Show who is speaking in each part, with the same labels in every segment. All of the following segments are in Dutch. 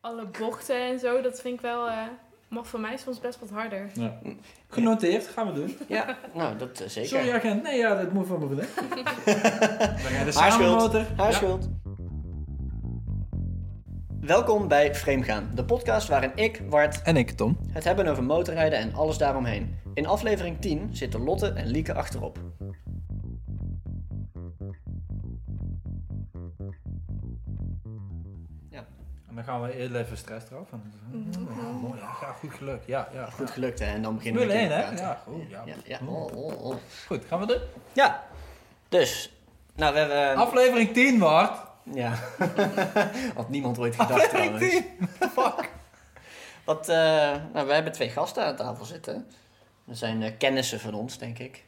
Speaker 1: alle bochten en zo. Dat vind ik wel, eh, mag voor mij soms best wat harder.
Speaker 2: Genoteerd, gaan we doen.
Speaker 3: Ja, nou, dat eh, zeker.
Speaker 2: Sorry agent, nee ja, dat moet van me bedenken. We rijden
Speaker 3: Haar
Speaker 2: samen
Speaker 3: schuld.
Speaker 2: motor.
Speaker 3: Haar
Speaker 2: Ja.
Speaker 3: schuld. Welkom bij Framegaan, de podcast waarin ik, Wart,
Speaker 2: En ik, Tom.
Speaker 3: het hebben over motorrijden en alles daaromheen. In aflevering 10 zitten Lotte en Lieke achterop.
Speaker 2: En dan gaan we eerder even stress eraf. En,
Speaker 4: Mhm.
Speaker 2: ja, mooi, ja, ja, goed geluk. Ja, ja.
Speaker 3: Goed gelukt, hè? En dan beginnen we
Speaker 2: 0-1,
Speaker 3: meteen te
Speaker 2: hè?
Speaker 3: praten.
Speaker 2: Ja, goed. Ja.
Speaker 3: Ja, ja. Oh, oh, oh.
Speaker 2: Goed, gaan we doen.
Speaker 3: ja, dus. Nou, we hebben...
Speaker 2: Aflevering 10, Bart.
Speaker 3: Ja. Had niemand ooit gedacht trouwens.
Speaker 2: Fuck.
Speaker 3: Wat, eh, nou, we hebben twee gasten aan tafel zitten. Dat zijn eh, kennissen van ons, denk ik.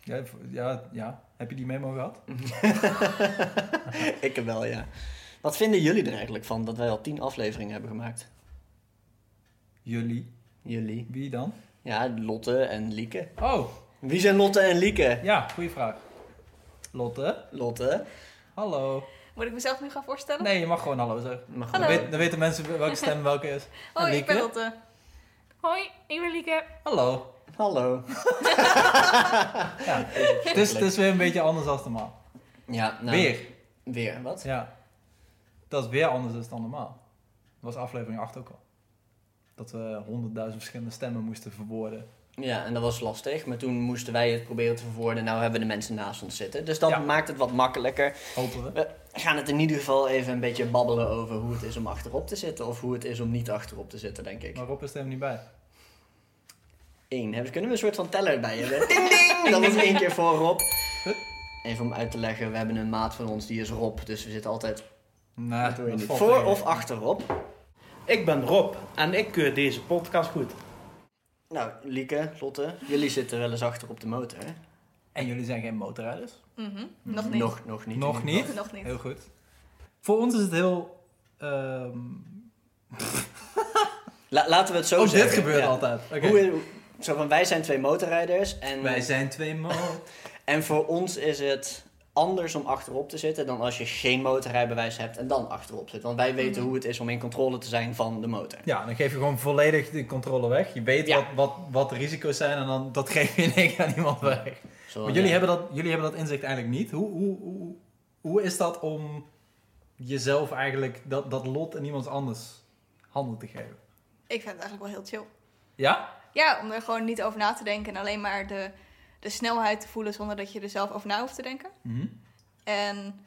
Speaker 2: Ja, ja, ja. Heb je die memo gehad?
Speaker 3: ik heb wel, ja. Wat vinden jullie er eigenlijk van dat wij al tien afleveringen hebben gemaakt?
Speaker 2: Jullie.
Speaker 3: Jullie.
Speaker 2: Wie dan?
Speaker 3: Ja, Lotte en Lieke.
Speaker 2: Oh,
Speaker 3: Wie zijn Lotte en Lieke?
Speaker 2: ja, goede vraag. Lotte,
Speaker 3: Lotte.
Speaker 2: hallo.
Speaker 4: Moet ik mezelf nu gaan voorstellen?
Speaker 2: Nee, je mag gewoon hallo zeggen.
Speaker 3: Mag
Speaker 2: Dan,
Speaker 4: Hallo.
Speaker 2: weet- dan weten mensen welke stem welke is.
Speaker 4: Hoi, ik ben
Speaker 2: Lieke?
Speaker 4: Lotte.
Speaker 1: Hoi, ik ben Lieke.
Speaker 2: Hallo.
Speaker 3: Hallo.
Speaker 2: Ja. Het is, het is weer een beetje anders dan normaal.
Speaker 3: Ja, nou.
Speaker 2: Dus, Weer.
Speaker 3: Weer, wat?
Speaker 2: Ja. Dat is weer anders dus dan normaal. Dat was aflevering 8 ook al. Dat we honderdduizend verschillende stemmen moesten verwoorden.
Speaker 3: Ja, en dat was lastig. Maar toen moesten wij het proberen te verwoorden. Nou hebben we de mensen naast ons zitten. Dus dat
Speaker 2: Ja.
Speaker 3: maakt het wat makkelijker.
Speaker 2: Hopen we.
Speaker 3: We gaan het in ieder geval even een beetje babbelen over hoe het is om achterop te zitten. Of hoe het is om niet achterop te zitten, denk ik.
Speaker 2: Maar Rob is er niet bij.
Speaker 3: Eén. Hebben- Kunnen we een soort van teller bij hebben? Ding ding! Dat was één keer voor Rob.
Speaker 2: Huh?
Speaker 3: Even om uit te leggen, we hebben een maat van ons, die is Rob. Dus we zitten altijd
Speaker 2: Nee,
Speaker 3: Doe je
Speaker 2: Nou, dat
Speaker 3: niet.
Speaker 2: valt
Speaker 3: voor
Speaker 2: tegen.
Speaker 3: of achter Rob.
Speaker 5: Ik ben Rob en ik keur deze podcast goed.
Speaker 3: Nou, Lieke, Lotte, jullie zitten wel eens achter op de motor, hè?
Speaker 2: En jullie zijn geen motorrijders?
Speaker 4: Mhm, Nog niet.
Speaker 3: Nog, nog niet.
Speaker 2: Mm-hmm. Nog niet?
Speaker 4: Nog niet.
Speaker 2: Heel goed. Voor ons is het heel... ehm,
Speaker 3: La- laten we het zo
Speaker 2: Oh,
Speaker 3: zeggen.
Speaker 2: dit gebeurt
Speaker 3: Ja.
Speaker 2: altijd. Oké.
Speaker 3: Hoe, zo van, wij zijn twee motorrijders en,
Speaker 2: Wij zijn twee man.
Speaker 3: en voor ons is het anders om achterop te zitten dan als je geen motorrijbewijs hebt en dan achterop zit. Want wij weten hoe het is om in controle te zijn van de motor.
Speaker 2: Ja, dan geef je gewoon volledig de controle weg. Je weet
Speaker 3: Ja.
Speaker 2: wat, wat, wat de risico's zijn en dan dat geef je in één keer aan iemand weg.
Speaker 3: Zo,
Speaker 2: Maar jullie,
Speaker 3: ja.
Speaker 2: hebben dat, jullie hebben dat inzicht eigenlijk niet. Hoe, hoe, hoe, hoe is dat om jezelf eigenlijk dat, dat lot en iemand anders handen te geven?
Speaker 4: Ik vind het eigenlijk wel heel chill.
Speaker 2: Ja?
Speaker 4: Ja, om er gewoon niet over na te denken en alleen maar de, de snelheid te voelen zonder dat je er zelf over na hoeft te denken.
Speaker 2: Mhm.
Speaker 4: En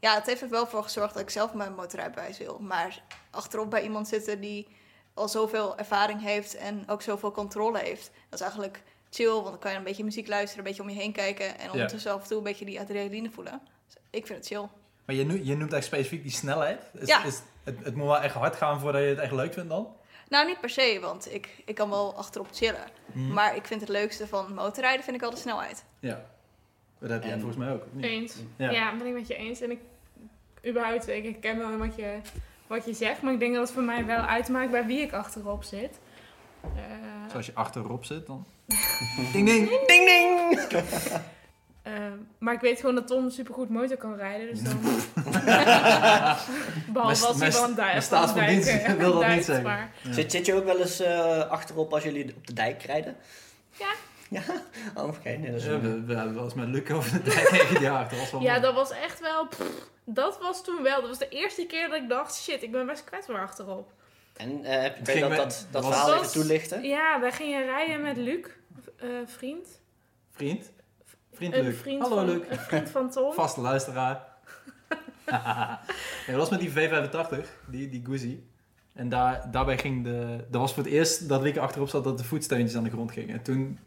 Speaker 4: ja, het heeft er wel voor gezorgd dat ik zelf mijn motorrijbewijs wil. Maar achterop bij iemand zitten die al zoveel ervaring heeft en ook zoveel controle heeft. Dat is eigenlijk chill, want dan kan je een beetje muziek luisteren, een beetje om je heen kijken en ondertussen af en toe een beetje die adrenaline voelen. Dus ik vind het chill.
Speaker 2: Maar je, noemt- je noemt echt specifiek die snelheid. Is,
Speaker 4: Ja.
Speaker 2: is, het, het moet wel echt hard gaan voordat je het echt leuk vindt dan?
Speaker 4: Nou, niet per se, want ik, ik kan wel achterop chillen.
Speaker 2: Mhm.
Speaker 4: Maar ik vind het leukste van motorrijden vind ik wel de snelheid.
Speaker 2: Ja. Dat heb jij
Speaker 3: En-
Speaker 2: volgens mij ook. of niet?
Speaker 1: Eens.
Speaker 2: Ja.
Speaker 1: Ja. ben ik met je eens. En ik, überhaupt, ik herken wel wat je, wat je zegt. Maar ik denk dat het voor mij wel uitmaakt bij wie ik achterop zit. Eh,
Speaker 2: Dus als je achterop zit dan... ding ding!
Speaker 3: Ding ding!
Speaker 1: eh, maar ik weet gewoon dat Tom supergoed motor kan rijden. Dus dan... Behalve als hij
Speaker 2: Mijn-
Speaker 1: van
Speaker 2: mijn
Speaker 1: Dijk
Speaker 2: staat van dienst wil dat niet zeggen.
Speaker 1: Maar
Speaker 2: Ja.
Speaker 3: Zit, zit je ook wel eens eh, achterop als jullie op de dijk rijden?
Speaker 1: Ja.
Speaker 3: Ja? Oh, oké. nee, dat is
Speaker 2: Ja, we, we hebben wel eens met Luc over de dijk heen gejaagd. Dat was wel
Speaker 1: Ja,
Speaker 2: mooi.
Speaker 1: dat was echt wel. pff, dat was toen wel. Dat was de eerste keer dat ik dacht: shit, ik ben best kwetsbaar achterop.
Speaker 3: En eh, heb je- kun je
Speaker 2: ging
Speaker 3: dat,
Speaker 2: met-
Speaker 3: dat, dat
Speaker 2: was-
Speaker 3: verhaal even
Speaker 1: was-
Speaker 3: toelichten?
Speaker 1: Ja, wij gingen rijden met Luc, eh, vriend.
Speaker 2: Vriend? Vriend
Speaker 1: Een
Speaker 2: Luc.
Speaker 1: vriend,
Speaker 2: Hallo
Speaker 1: van,
Speaker 2: Luc.
Speaker 1: een vriend van Tom.
Speaker 2: Vaste luisteraar. ja, dat was met die V85, die, die Guzzi. En daar, daarbij ging de... Dat was voor het eerst dat Lieke achterop zat dat de voetsteuntjes aan de grond gingen. En toen,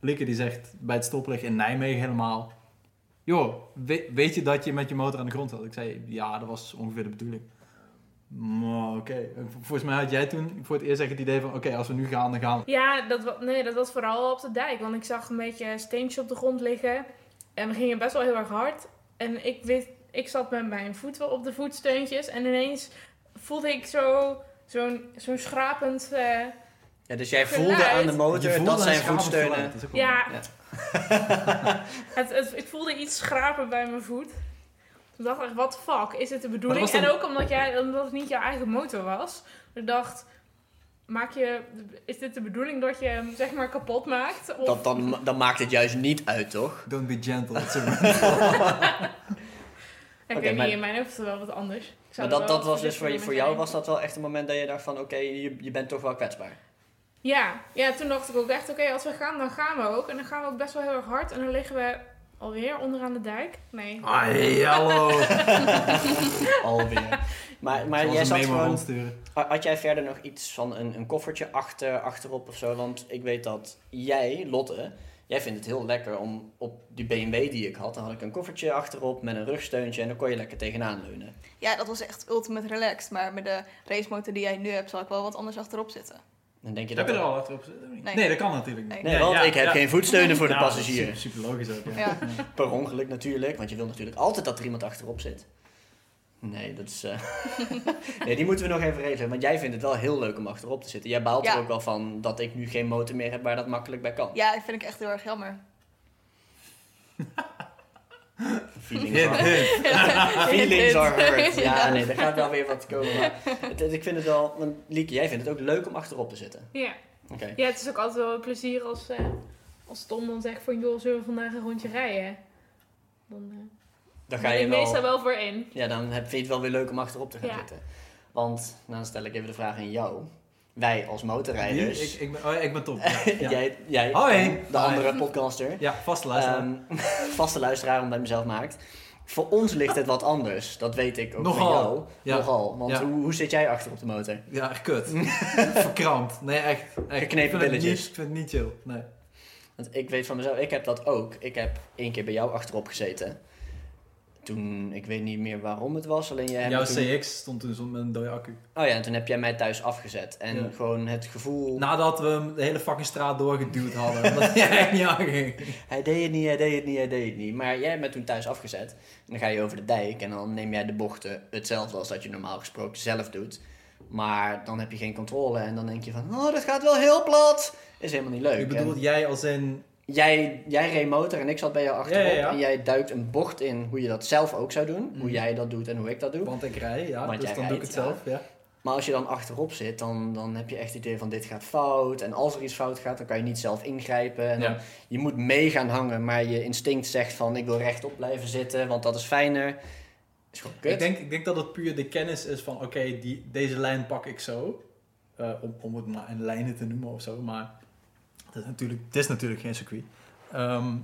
Speaker 2: Lieke die zegt bij het stoplicht in Nijmegen helemaal... Joh, we- weet je dat je met je motor aan de grond zat? Ik zei, ja, dat was ongeveer de bedoeling. Maar oké. En vol- Volgens mij had jij toen voor het eerst echt het idee van... Oké, als we nu gaan, dan gaan we.
Speaker 1: Ja, dat, wa- nee, dat was vooral op de dijk. Want ik zag een beetje steentjes op de grond liggen. En we gingen best wel heel erg hard. En ik, wist, ik zat met mijn voet wel op de voetsteuntjes. En ineens voelde ik zo, zo'n, zo'n schrapend. eh,
Speaker 3: Ja, dus jij
Speaker 1: Geluid.
Speaker 3: voelde aan de
Speaker 2: Je
Speaker 3: motor
Speaker 2: voelde
Speaker 3: dat
Speaker 2: een
Speaker 3: zijn
Speaker 2: schamend
Speaker 3: voetsteunen.
Speaker 2: geluid. Dat is ook wel-
Speaker 1: ja,
Speaker 3: Ja.
Speaker 1: het, het- ik voelde iets schrapen bij mijn voet. Ik dacht echt, what the fuck, is dit de bedoeling?
Speaker 2: was dan-
Speaker 1: En ook omdat, jij, omdat het niet jouw eigen motor was. Ik dacht, maak je, is dit de bedoeling dat je hem zeg maar kapot maakt? Of,
Speaker 3: Dat, dan, dan maakt het juist niet uit, toch?
Speaker 2: Don't be gentle. It's a run.
Speaker 1: ik
Speaker 3: Oké,
Speaker 1: weet
Speaker 3: maar-
Speaker 1: niet, in mijn hoofd is het wel wat anders. Ik zou
Speaker 3: Maar
Speaker 1: er
Speaker 3: dat,
Speaker 1: wel
Speaker 3: dat was dus voor,
Speaker 1: voorzichtig
Speaker 3: je,
Speaker 1: mee
Speaker 3: voor jou
Speaker 1: zijn.
Speaker 3: was dat wel echt een moment dat je dacht van oké, je, je bent toch wel kwetsbaar.
Speaker 1: Ja, ja, toen dacht ik ook echt, oké, als we gaan, dan gaan we ook. En dan gaan we ook best wel heel erg hard. En dan liggen we alweer onderaan de dijk.
Speaker 3: Oh.
Speaker 1: Nee.
Speaker 2: Ah, hey, hallo.
Speaker 3: Alweer. maar maar
Speaker 2: Zoals
Speaker 3: jij
Speaker 2: een
Speaker 3: zat
Speaker 2: memo
Speaker 3: gewoon...
Speaker 2: rondsturen.
Speaker 3: Ha- Had jij verder nog iets van een, een koffertje achter, achterop of zo? Want ik weet dat jij, Lotte, jij vindt het heel lekker om op die BMW die ik had, dan had ik een koffertje achterop met een rugsteuntje en dan kon je lekker tegenaan leunen.
Speaker 4: Ja, dat was echt ultimate relaxed. Maar met de racemotor die jij nu hebt, zal ik wel wat anders achterop zitten.
Speaker 3: Dan denk je
Speaker 2: Heb
Speaker 3: dat.
Speaker 2: je er al achterop zitten? of niet?
Speaker 4: Nee.
Speaker 2: Nee, dat kan natuurlijk niet.
Speaker 4: Nee.
Speaker 3: Nee,
Speaker 2: Ja,
Speaker 3: want
Speaker 2: ja,
Speaker 3: ik
Speaker 2: ja.
Speaker 3: heb
Speaker 2: Nou,
Speaker 3: geen voetsteunen voor de
Speaker 2: Ja, dat is
Speaker 3: passagier.
Speaker 2: Super, super logisch ook, ja.
Speaker 4: Ja.
Speaker 2: Ja.
Speaker 3: Per ongeluk natuurlijk, want je wil natuurlijk altijd dat er iemand achterop zit. Nee, dat is. eh, nee, die moeten we nog even regelen. Want jij vindt het wel heel leuk om achterop te zitten. Jij baalt
Speaker 4: Ja.
Speaker 3: er ook wel van dat ik nu geen motor meer heb waar dat makkelijk bij kan.
Speaker 4: Ja, dat vind ik echt heel erg jammer.
Speaker 3: Feeling
Speaker 2: Hint,
Speaker 3: van-
Speaker 2: hint.
Speaker 3: Ah, Feelings are hurt. Ja,
Speaker 4: Ja.
Speaker 3: nee, daar gaat wel weer wat komen. Maar het- het- ik vind het wel... Want Lieke, jij vindt het ook leuk om achterop te zitten.
Speaker 1: Ja.
Speaker 3: Oké.
Speaker 1: ja, het is ook altijd wel een plezier als, eh, als Tom dan zegt van, joh, zullen we vandaag een rondje rijden? Dan eh,
Speaker 3: Dan ga
Speaker 1: ben
Speaker 3: je
Speaker 1: ik meestal
Speaker 3: wel...
Speaker 1: wel voor in.
Speaker 3: Ja, dan heb, vind je het wel weer leuk om achterop te gaan
Speaker 1: Ja.
Speaker 3: zitten. Want, nou, dan stel ik even de vraag aan jou. Wij als motorrijders...
Speaker 2: Nu, ik, ik, ben, oh, ik ben top. Ja, ja.
Speaker 3: jij, jij
Speaker 2: Hoi.
Speaker 3: de
Speaker 2: Hoi.
Speaker 3: andere podcaster.
Speaker 2: Ja, vast luisteren.
Speaker 3: ehm, vaste luisteraar om bij mezelf maakt. Voor ons ligt het wat anders. Dat weet ik ook van
Speaker 2: Nogal.
Speaker 3: jou.
Speaker 2: Ja.
Speaker 3: Nogal. Want
Speaker 2: Ja.
Speaker 3: hoe, hoe zit jij achter op de motor?
Speaker 2: ja, echt kut. Verkrampt. Nee, echt. echt.
Speaker 3: Geknepen
Speaker 2: ik vind het, niet,
Speaker 3: billetjes.
Speaker 2: ik vind het niet chill. Nee.
Speaker 3: Want ik weet van mezelf, ik heb dat ook. Ik heb één keer bij jou achterop gezeten. Toen, ik weet niet meer waarom het was, alleen jij hebt
Speaker 2: Jouw
Speaker 3: me toen...
Speaker 2: CX stond toen zon- met een dode accu.
Speaker 3: Oh ja, en toen heb jij mij thuis afgezet. En
Speaker 2: Ja. Nou.
Speaker 3: gewoon het gevoel,
Speaker 2: Nadat we hem de hele fucking straat doorgeduwd hadden. Omdat hij echt niet aanging.
Speaker 3: hij deed het niet, hij deed het niet, hij deed het niet. Maar jij hebt me toen thuis afgezet. En dan ga je over de dijk en dan neem jij de bochten hetzelfde als dat je normaal gesproken zelf doet. Maar dan heb je geen controle en dan denk je van, oh, dat gaat wel heel plat. Is helemaal niet leuk.
Speaker 2: Ik bedoel,
Speaker 3: En
Speaker 2: jij als in...
Speaker 3: jij, jij reed motor en ik zat bij jou achterop.
Speaker 2: Ja, ja, ja.
Speaker 3: En jij duikt een bocht in hoe je dat zelf ook zou doen.
Speaker 2: Mhm.
Speaker 3: Hoe jij dat doet en hoe ik dat doe.
Speaker 2: Want ik rij, ja.
Speaker 3: Want
Speaker 2: dus
Speaker 3: jij
Speaker 2: dan doe ik het
Speaker 3: rijdt,
Speaker 2: zelf, ja.
Speaker 3: Maar als je dan achterop zit, dan, dan heb je echt het idee van dit gaat fout. En als er iets fout gaat, dan kan je niet zelf ingrijpen. En dan-
Speaker 2: Ja.
Speaker 3: je moet mee gaan hangen, maar je instinct zegt van ik wil rechtop blijven zitten, want dat is fijner. Is gewoon kut.
Speaker 2: Ik denk, ik denk dat het puur de kennis is van, oké, die- deze lijn pak ik zo. Eh, om, om het maar in lijnen te noemen of zo. Maar het is natuurlijk, het is natuurlijk geen circuit. Ehm,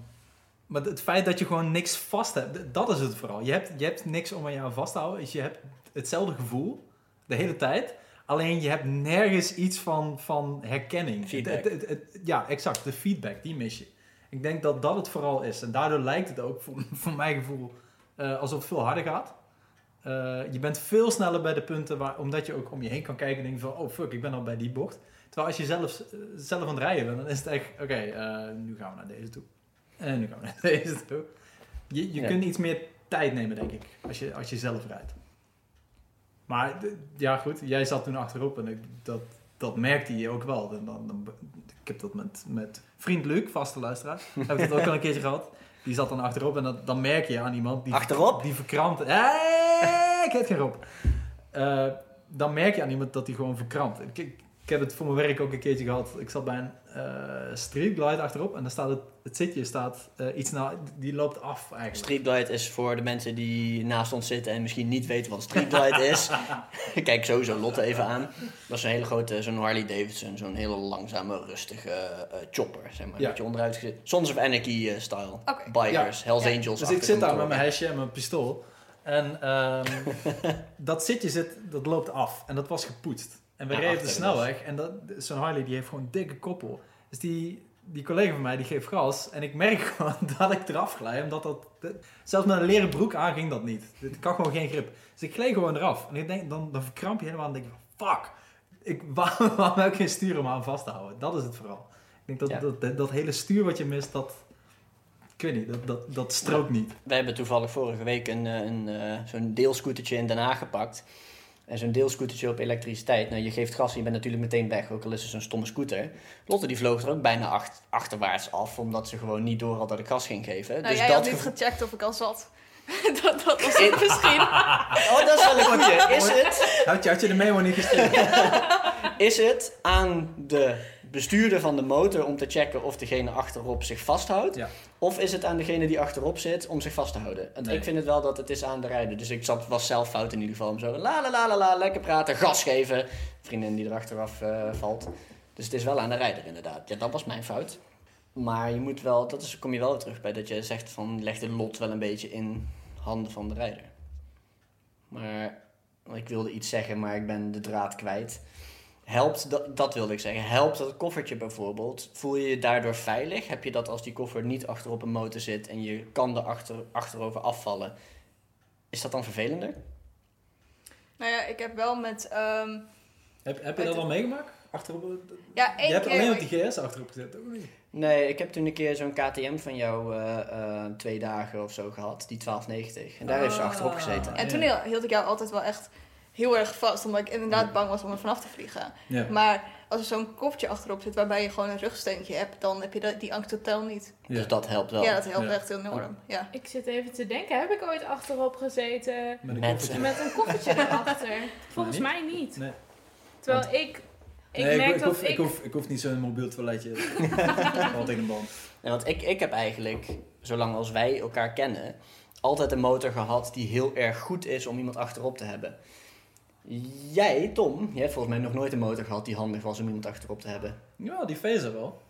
Speaker 2: maar het feit dat je gewoon niks vast hebt, d- dat is het vooral. Je hebt, je hebt niks om aan je aan vast te houden. Dus je hebt hetzelfde gevoel de hele tijd. Alleen je hebt nergens iets van, van herkenning.
Speaker 3: Feedback.
Speaker 2: Het- het- het- het- ja, exact. De feedback, die mis je. Ik denk dat dat het vooral is. En daardoor lijkt het ook, voor, voor mijn gevoel, eh, alsof het veel harder gaat. Eh, je bent veel sneller bij de punten, waar, omdat je ook om je heen kan kijken en denken van, oh fuck, ik ben al bij die bocht. Terwijl als je zelf, eh, zelf aan het rijden bent, dan is het echt, oké, eh, nu gaan we naar deze toe. En nu gaan we naar deze toe. Je, je
Speaker 3: Ja.
Speaker 2: kunt iets meer tijd nemen, denk ik, als je, als je zelf rijdt. Maar d- ja, goed, jij zat toen achterop en ik, dat, dat merkte je ook wel. En dan, dan, ik heb dat met, met vriend Luc, vaste luisteraar, heb ik dat ook al een keertje gehad. Die zat dan achterop en dat, dan merk je aan iemand die,
Speaker 3: Achterop?
Speaker 2: die verkrampt. Hey, ik heb geen Rob. Eh, dan merk je aan iemand dat hij gewoon verkrampt. Ik, ik, ik heb het voor mijn werk ook een keertje gehad. Ik zat bij een eh streetlight achterop en dan staat het, het zitje staat eh, iets na, die loopt af eigenlijk.
Speaker 3: Streetlight is voor de mensen die naast ons zitten en misschien niet weten wat streetlight is. Ik Kijk sowieso Lotte even aan. Dat is een hele grote, zo'n Harley Davidson, zo'n hele langzame, rustige eh, chopper, zeg maar.
Speaker 2: Ja.
Speaker 3: Dat je onderuit zit. Sons of Anarchy-style.
Speaker 4: Oké.
Speaker 3: Bikers, Hells
Speaker 4: Ja.
Speaker 3: Angels.
Speaker 2: Dus ik zit daar met mijn hesje en mijn pistool. En ehm, dat zitje zit, dat loopt af. En dat was gepoetst. En we
Speaker 3: Ja,
Speaker 2: reden de
Speaker 3: achter dus.
Speaker 2: snelweg. En dat, zo'n Harley die heeft gewoon een dikke koppel. Dus die, die collega van mij die geeft gas. En ik merk gewoon dat ik eraf glij. Omdat dat, dat- zelfs met een leren broek aan ging dat niet. Ik had gewoon geen grip. Dus ik gleed gewoon eraf. En ik denk, dan, dan verkramp je helemaal. En denk je, fuck. Ik, waarom, waarom heb ik geen stuur om aan vast te houden? Dat is het vooral. Ik denk dat
Speaker 3: Ja.
Speaker 2: dat, dat, dat hele stuur wat je mist, dat... Ik weet niet, dat, dat, dat strookt niet.
Speaker 3: We hebben toevallig vorige week een, eh, een, eh, zo'n deelscootertje in Den Haag gepakt. En zo'n deelscootertje op elektriciteit. Nou, je geeft gas en je bent natuurlijk meteen weg. Ook al is het zo'n stomme scooter. Lotte die vloog er ook bijna ach- achterwaarts af. Omdat ze gewoon niet door had dat ik gas ging geven. Dus
Speaker 4: Nou, jij
Speaker 3: dat
Speaker 4: had niet
Speaker 3: gevo-
Speaker 4: gecheckt of ik al zat. dat, dat was het misschien.
Speaker 3: Oh, dat is wel een goeie. Is het,
Speaker 2: Had je, had je de memo niet gestuurd?
Speaker 3: is het aan de bestuurder van de motor om te checken of degene achterop zich vasthoudt?
Speaker 2: Ja.
Speaker 3: Of is het aan degene die achterop zit om zich vast te houden? Want
Speaker 2: Nee.
Speaker 3: ik vind het wel dat het is aan de rijder. Dus ik zat, was zelf fout in ieder geval. Om zo la la la la la, lekker praten, gas geven. Vriendin die erachteraf eh valt. Dus het is wel aan de rijder inderdaad. Ja, dat was mijn fout. Maar je moet wel, dat is, kom je wel weer terug bij dat je zegt van leg de lot wel een beetje in handen van de rijder. Maar want ik wilde iets zeggen, maar ik ben de draad kwijt. Helpt, dat, dat wilde ik zeggen, helpt dat koffertje bijvoorbeeld? Voel je je daardoor veilig? Heb je dat als die koffer niet achterop een motor zit en je kan er achter, achterover afvallen? Is dat dan vervelender?
Speaker 4: nou ja, ik heb wel met... ehm,
Speaker 2: heb, heb je dat al meegemaakt? Achterop,
Speaker 4: ja, één
Speaker 2: je hebt
Speaker 4: keer...
Speaker 2: alleen op die GS achterop gezet, ook niet?
Speaker 3: Nee, ik heb toen een keer zo'n KTM van jou eh, eh, twee dagen of zo gehad, die 1290. En daar heeft ze
Speaker 2: Ah.
Speaker 3: achterop gezeten.
Speaker 4: En toen hield ik jou altijd wel echt heel erg vast. Omdat ik inderdaad bang was om er vanaf te vliegen.
Speaker 2: Ja.
Speaker 4: Maar als er zo'n kopje achterop zit waarbij je gewoon een rugsteuntje hebt... dan heb je dat- die angst totaal niet.
Speaker 2: Ja.
Speaker 3: Dus dat helpt wel.
Speaker 4: Ja, dat helpt
Speaker 2: Ja.
Speaker 4: echt enorm. Ja.
Speaker 1: Ik zit even te denken, heb ik ooit achterop gezeten
Speaker 2: Met een
Speaker 3: Met-
Speaker 2: koffertje.
Speaker 1: met een koffertje erachter? Volgens
Speaker 2: niet?
Speaker 1: mij niet.
Speaker 2: Nee.
Speaker 1: Terwijl ik, ik
Speaker 2: Nee,
Speaker 1: merk
Speaker 2: ik,
Speaker 1: dat
Speaker 2: hoef,
Speaker 1: ik...
Speaker 2: ik, hoef, ik hoef niet zo'n mobiel toiletje. Al tegen een band.
Speaker 3: Ja, want ik, ik heb eigenlijk, zolang als wij elkaar kennen, altijd een motor gehad die heel erg goed is om iemand achterop te hebben. Jij, Tom, je hebt volgens mij nog nooit een motor gehad die handig was om iemand achterop te hebben.
Speaker 2: Ja, die phaser wel.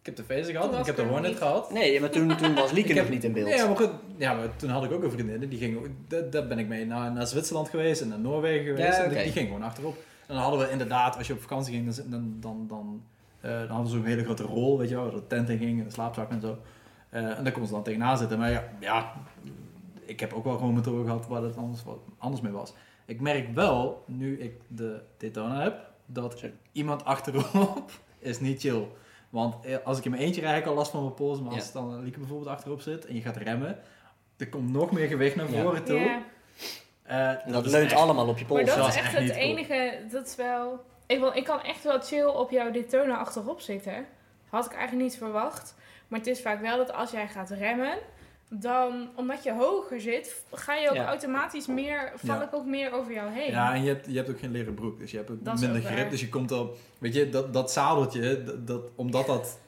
Speaker 2: Ik heb de phaser gehad,
Speaker 1: was
Speaker 2: en ik heb de
Speaker 1: ik er nog
Speaker 2: Hornet
Speaker 1: niet.
Speaker 2: gehad.
Speaker 3: Nee, maar toen, toen was Lieke
Speaker 2: Ik heb-
Speaker 3: nog niet in beeld.
Speaker 2: Ja maar, goed, ja, maar toen had ik ook een vriendin. en Die ging, ook- daar, daar ben ik mee naar, naar Zwitserland geweest en naar Noorwegen geweest.
Speaker 3: Ja,
Speaker 2: en die-
Speaker 3: oké.
Speaker 2: die ging gewoon achterop. En dan hadden we inderdaad, als je op vakantie ging, dan, zit- dan, dan, dan, eh, dan hadden ze zo'n hele grote rol, weet je wel, waar de tent in ging en de slaapzak en zo. Eh, en daar kon ze dan tegenaan zitten. Maar ja, ja ik heb ook wel gewoon motoren gehad waar het anders, wat anders mee was. Ik merk wel, nu ik de Daytona heb, dat
Speaker 3: Sorry.
Speaker 2: iemand achterop is niet chill. Want eh, als ik in mijn eentje rijd, heb ik al last van mijn pols. Maar
Speaker 3: Ja.
Speaker 2: als het dan Lieke bijvoorbeeld achterop zit en je gaat remmen, er komt nog meer gewicht naar
Speaker 3: Ja.
Speaker 2: voren toe.
Speaker 1: Ja.
Speaker 2: Eh,
Speaker 3: En dat
Speaker 2: dat is
Speaker 3: leunt
Speaker 2: echt-
Speaker 3: allemaal op je
Speaker 1: Maar
Speaker 3: pols.
Speaker 1: dat
Speaker 2: dat
Speaker 1: is
Speaker 2: is
Speaker 1: echt
Speaker 2: echt
Speaker 1: het
Speaker 2: niet cool.
Speaker 1: enige, dat is wel... Ik, wil, ik kan echt wel chill op jouw Daytona achterop zitten. Had ik eigenlijk niet verwacht. Maar het is vaak wel dat als jij gaat remmen, dan, omdat je hoger zit, ga je ook
Speaker 3: Ja.
Speaker 1: automatisch meer, val
Speaker 2: Ja.
Speaker 1: ik ook meer over jou heen.
Speaker 2: Ja, en je hebt, je hebt ook geen leren broek, dus je hebt ook
Speaker 1: Dat is
Speaker 2: minder
Speaker 1: ook waar.
Speaker 2: grip. Dus je komt al, weet je, dat, dat zadeltje, dat, dat- omdat dat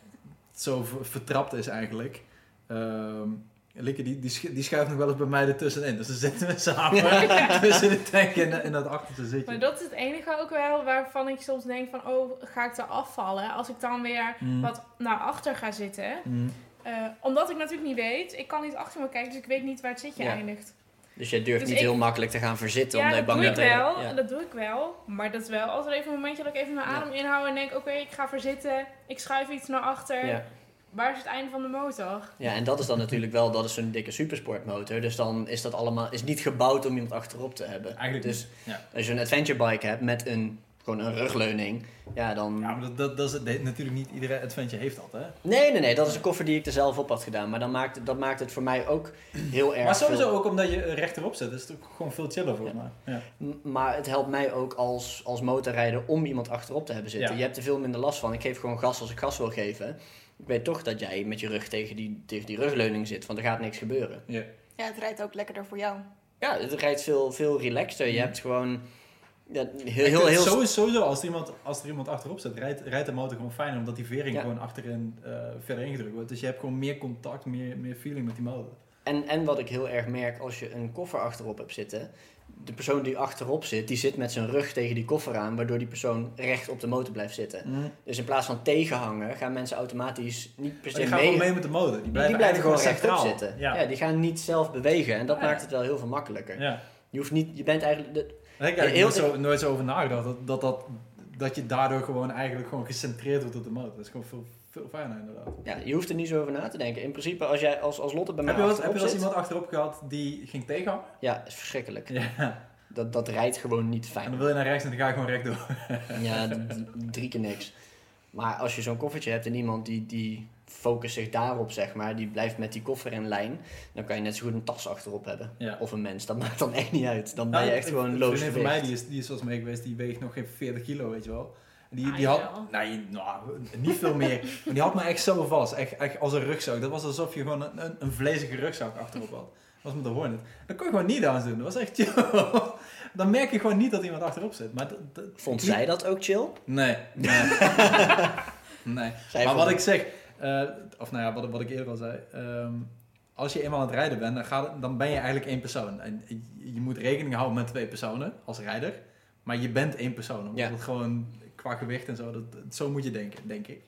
Speaker 2: zo ver- vertrapt is eigenlijk. ehm Likke, die, die, schu- die schuift nog wel eens bij mij ertussenin. Dus dan zitten we samen tussen de tank en, en dat achterste zitje.
Speaker 1: Maar dat is het enige ook wel waarvan ik soms denk van, oh, ga ik er afvallen? Als ik dan weer
Speaker 2: Mm,
Speaker 1: wat naar achter ga zitten.
Speaker 2: mm.
Speaker 1: Eh, omdat ik natuurlijk niet weet, ik kan niet achter me kijken, dus ik weet niet waar het zitje
Speaker 3: Ja.
Speaker 1: eindigt.
Speaker 3: Dus jij durft
Speaker 1: Dus
Speaker 3: niet
Speaker 1: ik-
Speaker 3: heel makkelijk te gaan verzitten
Speaker 1: Ja,
Speaker 3: omdat je
Speaker 1: dat
Speaker 3: eh, bang
Speaker 1: doe ik
Speaker 3: bent.
Speaker 1: wel.
Speaker 3: Ja.
Speaker 1: Dat doe ik wel. Maar dat is wel als er even een momentje dat ik even mijn
Speaker 3: Ja.
Speaker 1: adem inhoud en denk... Oké, ik ga verzitten. Ik schuif iets naar achter.
Speaker 3: Ja.
Speaker 1: Waar is het einde van de motor?
Speaker 3: ja, en dat is dan natuurlijk wel, dat is zo'n dikke supersportmotor. Dus dan is dat allemaal, is niet gebouwd om iemand achterop te hebben.
Speaker 2: Eigenlijk
Speaker 3: dus
Speaker 2: niet,
Speaker 3: als je een adventure bike hebt met een, gewoon een rugleuning, ja dan...
Speaker 2: Ja, maar dat, dat, dat is het- nee, natuurlijk niet iedere adventure heeft dat, hè?
Speaker 3: Nee, nee, nee. Dat is een koffer die ik er zelf op had gedaan. Maar dan maakt, het- dat maakt het voor mij ook heel erg
Speaker 2: maar sowieso
Speaker 3: veel-
Speaker 2: ook omdat je eh, rechterop zit, is het ook gewoon veel chiller voor mij. Ja.
Speaker 3: M- Maar het helpt mij ook als, als motorrijder om iemand achterop te hebben zitten.
Speaker 2: Ja.
Speaker 3: Je hebt er veel minder last van. Ik geef gewoon gas als ik gas wil geven. Ik weet toch dat jij met je rug tegen die, tegen die rugleuning zit. Want er gaat niks gebeuren.
Speaker 4: ja, het rijdt ook lekkerder voor jou.
Speaker 3: Ja, het rijdt veel, veel relaxter. Je
Speaker 2: Mm.
Speaker 3: hebt gewoon... Ja,
Speaker 2: Ik
Speaker 3: heel, heel,
Speaker 2: vind
Speaker 3: heel,
Speaker 2: sowieso, sowieso, als er, iemand, als er iemand achterop zit, rijdt, rijdt de motor gewoon fijn, omdat die vering
Speaker 3: Ja.
Speaker 2: gewoon achterin eh, verder ingedrukt wordt. Dus je hebt gewoon meer contact, meer, meer feeling met die motor.
Speaker 3: En, en wat ik heel erg merk als je een koffer achterop hebt zitten. De persoon die achterop zit, die zit met zijn rug tegen die koffer aan. Waardoor die persoon recht op de motor blijft zitten. Dus in plaats van tegenhangen, gaan mensen automatisch niet per
Speaker 2: Dus
Speaker 3: se
Speaker 2: je gaat
Speaker 3: mee.
Speaker 2: gewoon mee met de motor. Die
Speaker 3: die
Speaker 2: blijven,
Speaker 3: blijven gewoon
Speaker 2: eigenlijk
Speaker 3: rechtop
Speaker 2: centraal.
Speaker 3: zitten. Ja.
Speaker 2: Ja.
Speaker 3: die gaan niet zelf bewegen. En dat
Speaker 2: Ja.
Speaker 3: maakt het wel heel veel makkelijker.
Speaker 2: Ja.
Speaker 3: Je hoeft niet, je bent eigenlijk... de-
Speaker 2: Daar heb ik
Speaker 3: Ja,
Speaker 2: eigenlijk
Speaker 3: heel-
Speaker 2: nooit zo, nooit zo over nagedacht, dat, dat, dat, dat je daardoor gewoon eigenlijk gewoon gecentreerd wordt op de motor. Dat is gewoon veel, veel fijner inderdaad.
Speaker 3: ja, je hoeft er niet zo over na te denken. In principe, als jij als, als Lotte bij mij
Speaker 2: Heb je wel eens- heb
Speaker 3: achterop
Speaker 2: je wel eens
Speaker 3: zit...
Speaker 2: iemand achterop gehad die ging tegenhangen?
Speaker 3: Ja, is verschrikkelijk.
Speaker 2: Ja.
Speaker 3: Dat, dat rijdt gewoon niet
Speaker 2: En
Speaker 3: fijn.
Speaker 2: dan wil je naar rechts en dan ga je gewoon rechtdoor.
Speaker 3: Ja, d- d- drie keer niks. Maar als je zo'n koffertje hebt en iemand die, die focust zich daarop, zeg maar... die blijft met die koffer in lijn... dan kan je net zo goed een tas achterop hebben.
Speaker 2: Ja.
Speaker 3: Of een mens, dat maakt dan echt niet uit. Dan ben je echt gewoon
Speaker 2: Nou Een
Speaker 3: loos
Speaker 2: vriendin van mij
Speaker 3: gewicht.
Speaker 2: die is, die is zoals mee geweest, die weegt nog geen 40 kilo, weet je wel. En Die,
Speaker 1: Ah,
Speaker 2: die
Speaker 1: jawel.
Speaker 2: had, nee, nou, niet veel meer. Maar die had me echt zo vast, echt, echt als een rugzak. Dat was alsof je gewoon een, een, een vlezige rugzak achterop had. was met de Hornet. Dan kon je gewoon niet downs doen. Dat was echt chill. Dan merk je gewoon niet dat iemand achterop zit. Maar dat, dat-
Speaker 3: Vond
Speaker 2: niet-
Speaker 3: zij dat ook chill?
Speaker 2: Nee. Nee. nee.
Speaker 3: Zij
Speaker 2: maar
Speaker 3: vond
Speaker 2: wat ik
Speaker 3: het-
Speaker 2: zeg, eh, of nou ja, wat, wat ik eerder al zei. ehm, als je eenmaal aan het rijden bent, dan, gaat het- dan ben je eigenlijk één persoon. En je- je moet rekening houden met twee personen als rijder. Maar je bent één persoon. Omdat
Speaker 3: Ja.
Speaker 2: het gewoon qua gewicht en zo, dat, dat- zo moet je denken, denk ik.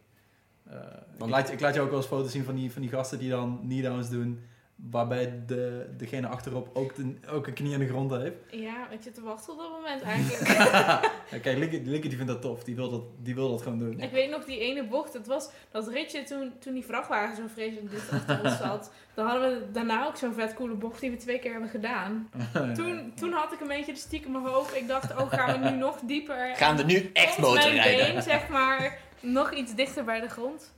Speaker 2: Eh, ik,
Speaker 3: Want-
Speaker 2: laat, ik laat je ook wel eens foto's zien van die, van die gasten die dan knee-downs doen. Waarbij de, degene achterop ook, de, ook een knie aan de grond heeft.
Speaker 1: Ja, ik zit te wachten op dat moment eigenlijk.
Speaker 2: Ja, kijk, Linky, Linky die vindt dat tof. Die wil dat, die wil dat gewoon doen.
Speaker 1: ik weet nog die ene bocht. Het was dat ritje toen, toen die vrachtwagen zo vreselijk dicht achter ons zat. Dan hadden we daarna ook zo'n vet coole bocht die we twee keer hebben gedaan. Toen, toen had ik een beetje de stiekeme hoop. Ik dacht, oh gaan we nu nog dieper.
Speaker 3: Gaan we nu echt
Speaker 1: Komt mijn
Speaker 3: motorrijden?
Speaker 1: been, zeg maar, nog iets dichter bij de grond.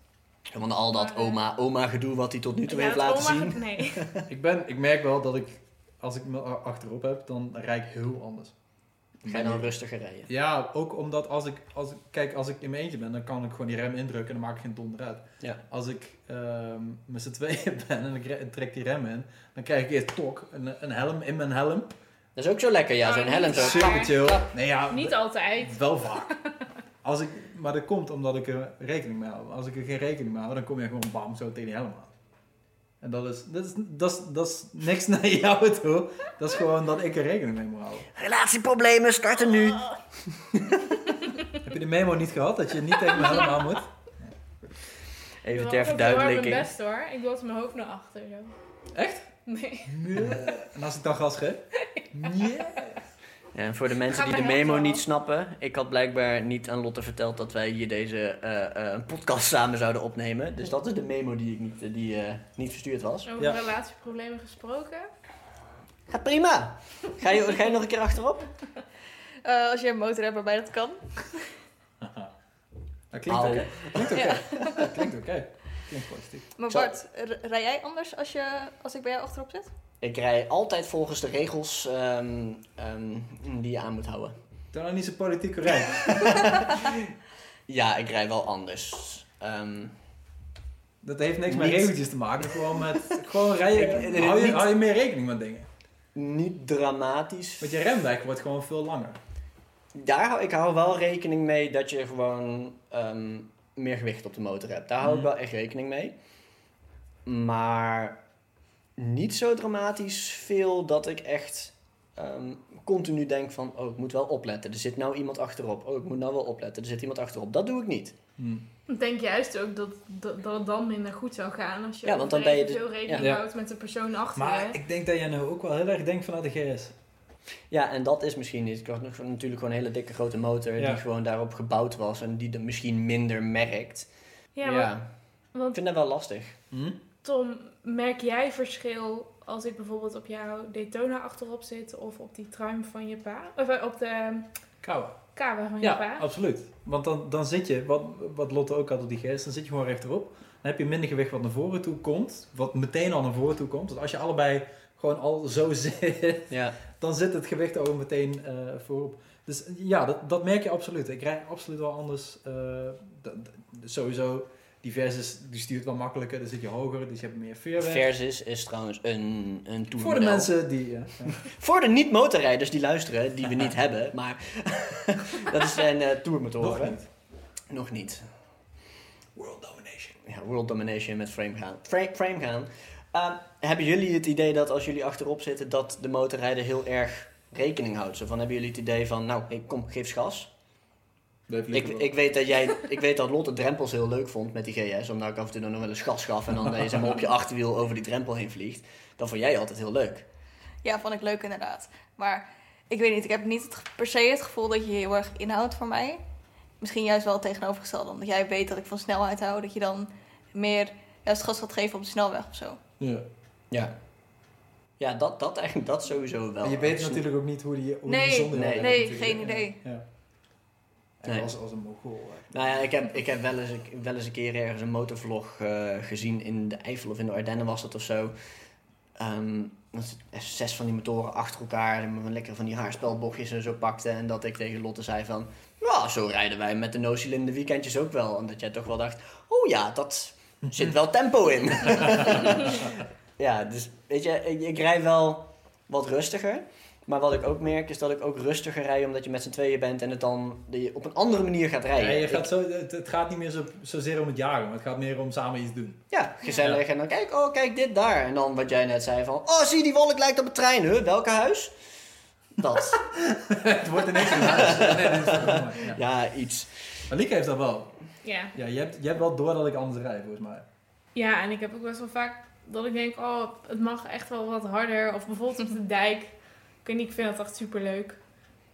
Speaker 3: Want al dat
Speaker 1: Maar, eh,
Speaker 3: oma, oma gedoe wat hij tot nu toe
Speaker 1: Ja,
Speaker 3: heeft
Speaker 1: dat
Speaker 3: laten
Speaker 1: oma-
Speaker 3: zien.
Speaker 1: Nee.
Speaker 2: Ik, ben, ik merk wel dat ik, als ik me a- achterop heb, dan rijd ik heel anders.
Speaker 3: Ga je dan rustiger rijden?
Speaker 2: Ja, ook omdat als ik, als ik, kijk, als ik in mijn eentje ben, dan kan ik gewoon die rem indrukken en dan maak ik geen donder uit.
Speaker 3: Ja.
Speaker 2: Als ik ehm, met z'n tweeën ben en ik re- trek die rem in, dan krijg ik eerst tok, een, een helm in mijn helm.
Speaker 3: Dat is ook zo lekker, ja,
Speaker 1: Oh,
Speaker 3: zo'n
Speaker 1: niet
Speaker 3: helm.
Speaker 1: zo.
Speaker 3: Zo.
Speaker 2: Super chill. Nee, ja,
Speaker 1: Niet altijd.
Speaker 2: Wel vaak. Als ik, maar dat komt omdat ik er rekening mee hou. Als ik er geen rekening mee hou, dan kom je gewoon bam zo tegen die helm aan. En dat is, dat is, dat is, dat is niks naar jou toe. Dat is gewoon dat ik er rekening mee moet houden.
Speaker 3: Relatieproblemen starten nu.
Speaker 2: Heb je de memo niet gehad dat je niet tegen mijn helm aan moet?
Speaker 3: Even
Speaker 1: Ik doe altijd
Speaker 3: ter
Speaker 1: heel hard
Speaker 3: verduidelijking.
Speaker 1: mijn Oh, best hoor. Ik doe altijd mijn hoofd naar achter. Zo.
Speaker 2: Echt?
Speaker 1: Nee.
Speaker 2: En als ik dan gas geef? Nee.
Speaker 3: En voor de mensen
Speaker 1: Gaat
Speaker 3: die de
Speaker 1: mijn
Speaker 3: memo
Speaker 1: hand wel
Speaker 3: niet snappen, ik had blijkbaar niet aan Lotte verteld dat wij hier deze eh, eh, podcast samen zouden opnemen. Dus dat is de memo die, ik niet, eh, die eh, niet verstuurd was.
Speaker 1: Over
Speaker 2: Ja.
Speaker 1: relatieproblemen gesproken.
Speaker 3: Gaat prima. Ga je, ga je nog een keer achterop?
Speaker 4: Eh, als je een motor hebt waarbij dat kan.
Speaker 2: Dat klinkt oké.
Speaker 3: Au.
Speaker 2: Klinkt oké.
Speaker 4: Ja.
Speaker 2: Dat klinkt oké. Klinkt positief.
Speaker 4: Maar
Speaker 3: Zal-
Speaker 4: Bart, r- rij jij anders als, je, als ik bij jou achterop zit?
Speaker 3: Ik rij altijd volgens de regels ehm, ehm, die je aan moet houden.
Speaker 2: Doe nou niet zo politiek correct.
Speaker 3: Ja, ik rij wel anders. Ehm,
Speaker 2: Dat heeft niks met
Speaker 3: Niet.
Speaker 2: regeltjes te maken. Gewoon met... Gewoon rijden.
Speaker 3: Ik-
Speaker 2: hou, je,
Speaker 3: niet.
Speaker 2: hou je meer rekening met dingen.
Speaker 3: niet dramatisch.
Speaker 2: Want je remweg wordt gewoon veel langer.
Speaker 3: Daar hou ik hou wel rekening mee dat je gewoon ehm, meer gewicht op de motor hebt. Daar hou ik
Speaker 2: Mhm.
Speaker 3: wel echt rekening mee. Maar niet zo dramatisch veel dat ik echt ehm, continu denk van... Oh, ik moet wel opletten. Er zit nou iemand achterop. Oh, ik moet nou wel opletten. Er zit iemand achterop. Dat doe ik niet.
Speaker 2: Hmm.
Speaker 1: Ik denk juist ook dat, dat, dat het dan minder goed zou gaan als je
Speaker 3: Ja, want dan ben je
Speaker 1: veel
Speaker 3: dus-
Speaker 1: rekening
Speaker 2: ja.
Speaker 1: houdt met de persoon achter
Speaker 2: Maar
Speaker 1: je.
Speaker 2: ik denk dat jij nou ook wel heel erg denkt vanuit de GS.
Speaker 3: Ja, en dat is misschien niet. Ik had nog- natuurlijk gewoon een hele dikke grote motor...
Speaker 2: Ja.
Speaker 3: die gewoon daarop gebouwd was en die er misschien minder merkt.
Speaker 1: Ja, maar-
Speaker 3: ja. Ik
Speaker 1: want
Speaker 3: vind dat wel lastig.
Speaker 2: Hmm?
Speaker 1: Tom, merk jij verschil als ik bijvoorbeeld op jouw Daytona achterop zit of op die tram van je pa? Of eh, op de
Speaker 2: Kouwen.
Speaker 1: kamer van je
Speaker 2: Ja,
Speaker 1: pa?
Speaker 2: absoluut. Want dan, dan zit je, wat, wat Lotte ook had op die GS, dan zit je gewoon rechterop. Dan heb je minder gewicht wat naar voren toe komt. Wat meteen al naar voren toe komt. Dus als je allebei gewoon al zo zit,
Speaker 3: Ja.
Speaker 2: dan zit het gewicht ook meteen eh, voorop. Dus ja, dat, dat merk je absoluut. Ik rij absoluut wel anders. eh, dat- dat- sowieso, die versus die stuurt wel makkelijker. Dan zit je hoger, dus je hebt meer veerweg.
Speaker 3: Versus is trouwens een, een
Speaker 2: Voor de
Speaker 3: toermodel.
Speaker 2: mensen die... eh, ja.
Speaker 3: Voor de niet-motorrijders die luisteren, die we niet hebben, maar dat is zijn eh tourmotoren.
Speaker 2: Nog niet.
Speaker 3: Nog niet.
Speaker 2: World domination.
Speaker 3: Ja, world domination met frame gaan. Frame, frame gaan. Eh, hebben jullie het idee dat als jullie achterop zitten, dat de motorrijder heel erg rekening houdt? Zo van, hebben jullie het idee van, nou, ik kom, geef eens gas. Ik, ik, weet dat jij, ik weet dat Lotte drempels heel leuk vond met die GS, omdat ik af en toe nog wel eens gas gaf en dan eh, zeg maar, op je achterwiel over die drempel heen vliegt. Dat vond jij altijd heel leuk.
Speaker 4: Ja, vond ik leuk inderdaad. Maar ik weet niet, ik heb niet het, ge- per se het gevoel dat je heel erg inhoudt voor mij. Misschien juist wel het tegenovergestelde, omdat jij weet dat ik van snelheid hou, dat je dan meer juist gas gaat geven op de snelweg of zo.
Speaker 2: Ja.
Speaker 3: Ja. Ja, dat, dat eigenlijk, dat sowieso wel.
Speaker 2: En je weet natuurlijk ook niet hoe die, hoe die
Speaker 4: Nee,
Speaker 2: zonder
Speaker 3: nee,
Speaker 2: werkt
Speaker 4: nee,
Speaker 2: natuurlijk.
Speaker 4: geen idee.
Speaker 2: Ja. En
Speaker 3: Nee.
Speaker 2: als, als een mogol.
Speaker 3: Nou ja, ik heb, ik heb wel, eens, ik, wel eens een keer ergens een motorvlog eh, gezien in de Eifel of in de Ardennen was dat of zo. Ehm, dat ze zes van die motoren achter elkaar en we lekker van die haarspelbochtjes en zo pakten. En dat ik tegen Lotte zei van, nou zo rijden wij met de no-cylinder weekendjes ook wel. En dat jij toch wel dacht, oh ja, dat zit wel tempo in. Ja, dus weet je, ik, ik rij wel wat rustiger. Maar wat ik ook merk is dat ik ook rustiger rij omdat je met z'n tweeën bent en het dan dat je op een andere manier gaat rijden.
Speaker 2: Ja, je gaat
Speaker 3: Ik-
Speaker 2: zo, het, het gaat niet meer zo, zozeer om het jagen, maar het gaat meer om samen iets doen.
Speaker 3: ja, gezellig. En dan kijk, oh kijk dit daar. En dan wat jij net zei van, oh zie die wolk lijkt op een trein. Huh, welke huis? Dat.
Speaker 2: het wordt ineens een huis. Nee, dit is fucking mooi, ja.
Speaker 3: ja, iets.
Speaker 2: Maar Lieke heeft dat wel.
Speaker 1: Ja.
Speaker 2: Ja, je, hebt, je hebt wel door dat ik anders rij, volgens mij.
Speaker 1: ja, en ik heb ook best wel vaak dat ik denk, oh, het mag echt wel wat harder. Of bijvoorbeeld op de dijk. Ik weet niet, ik vind dat echt superleuk.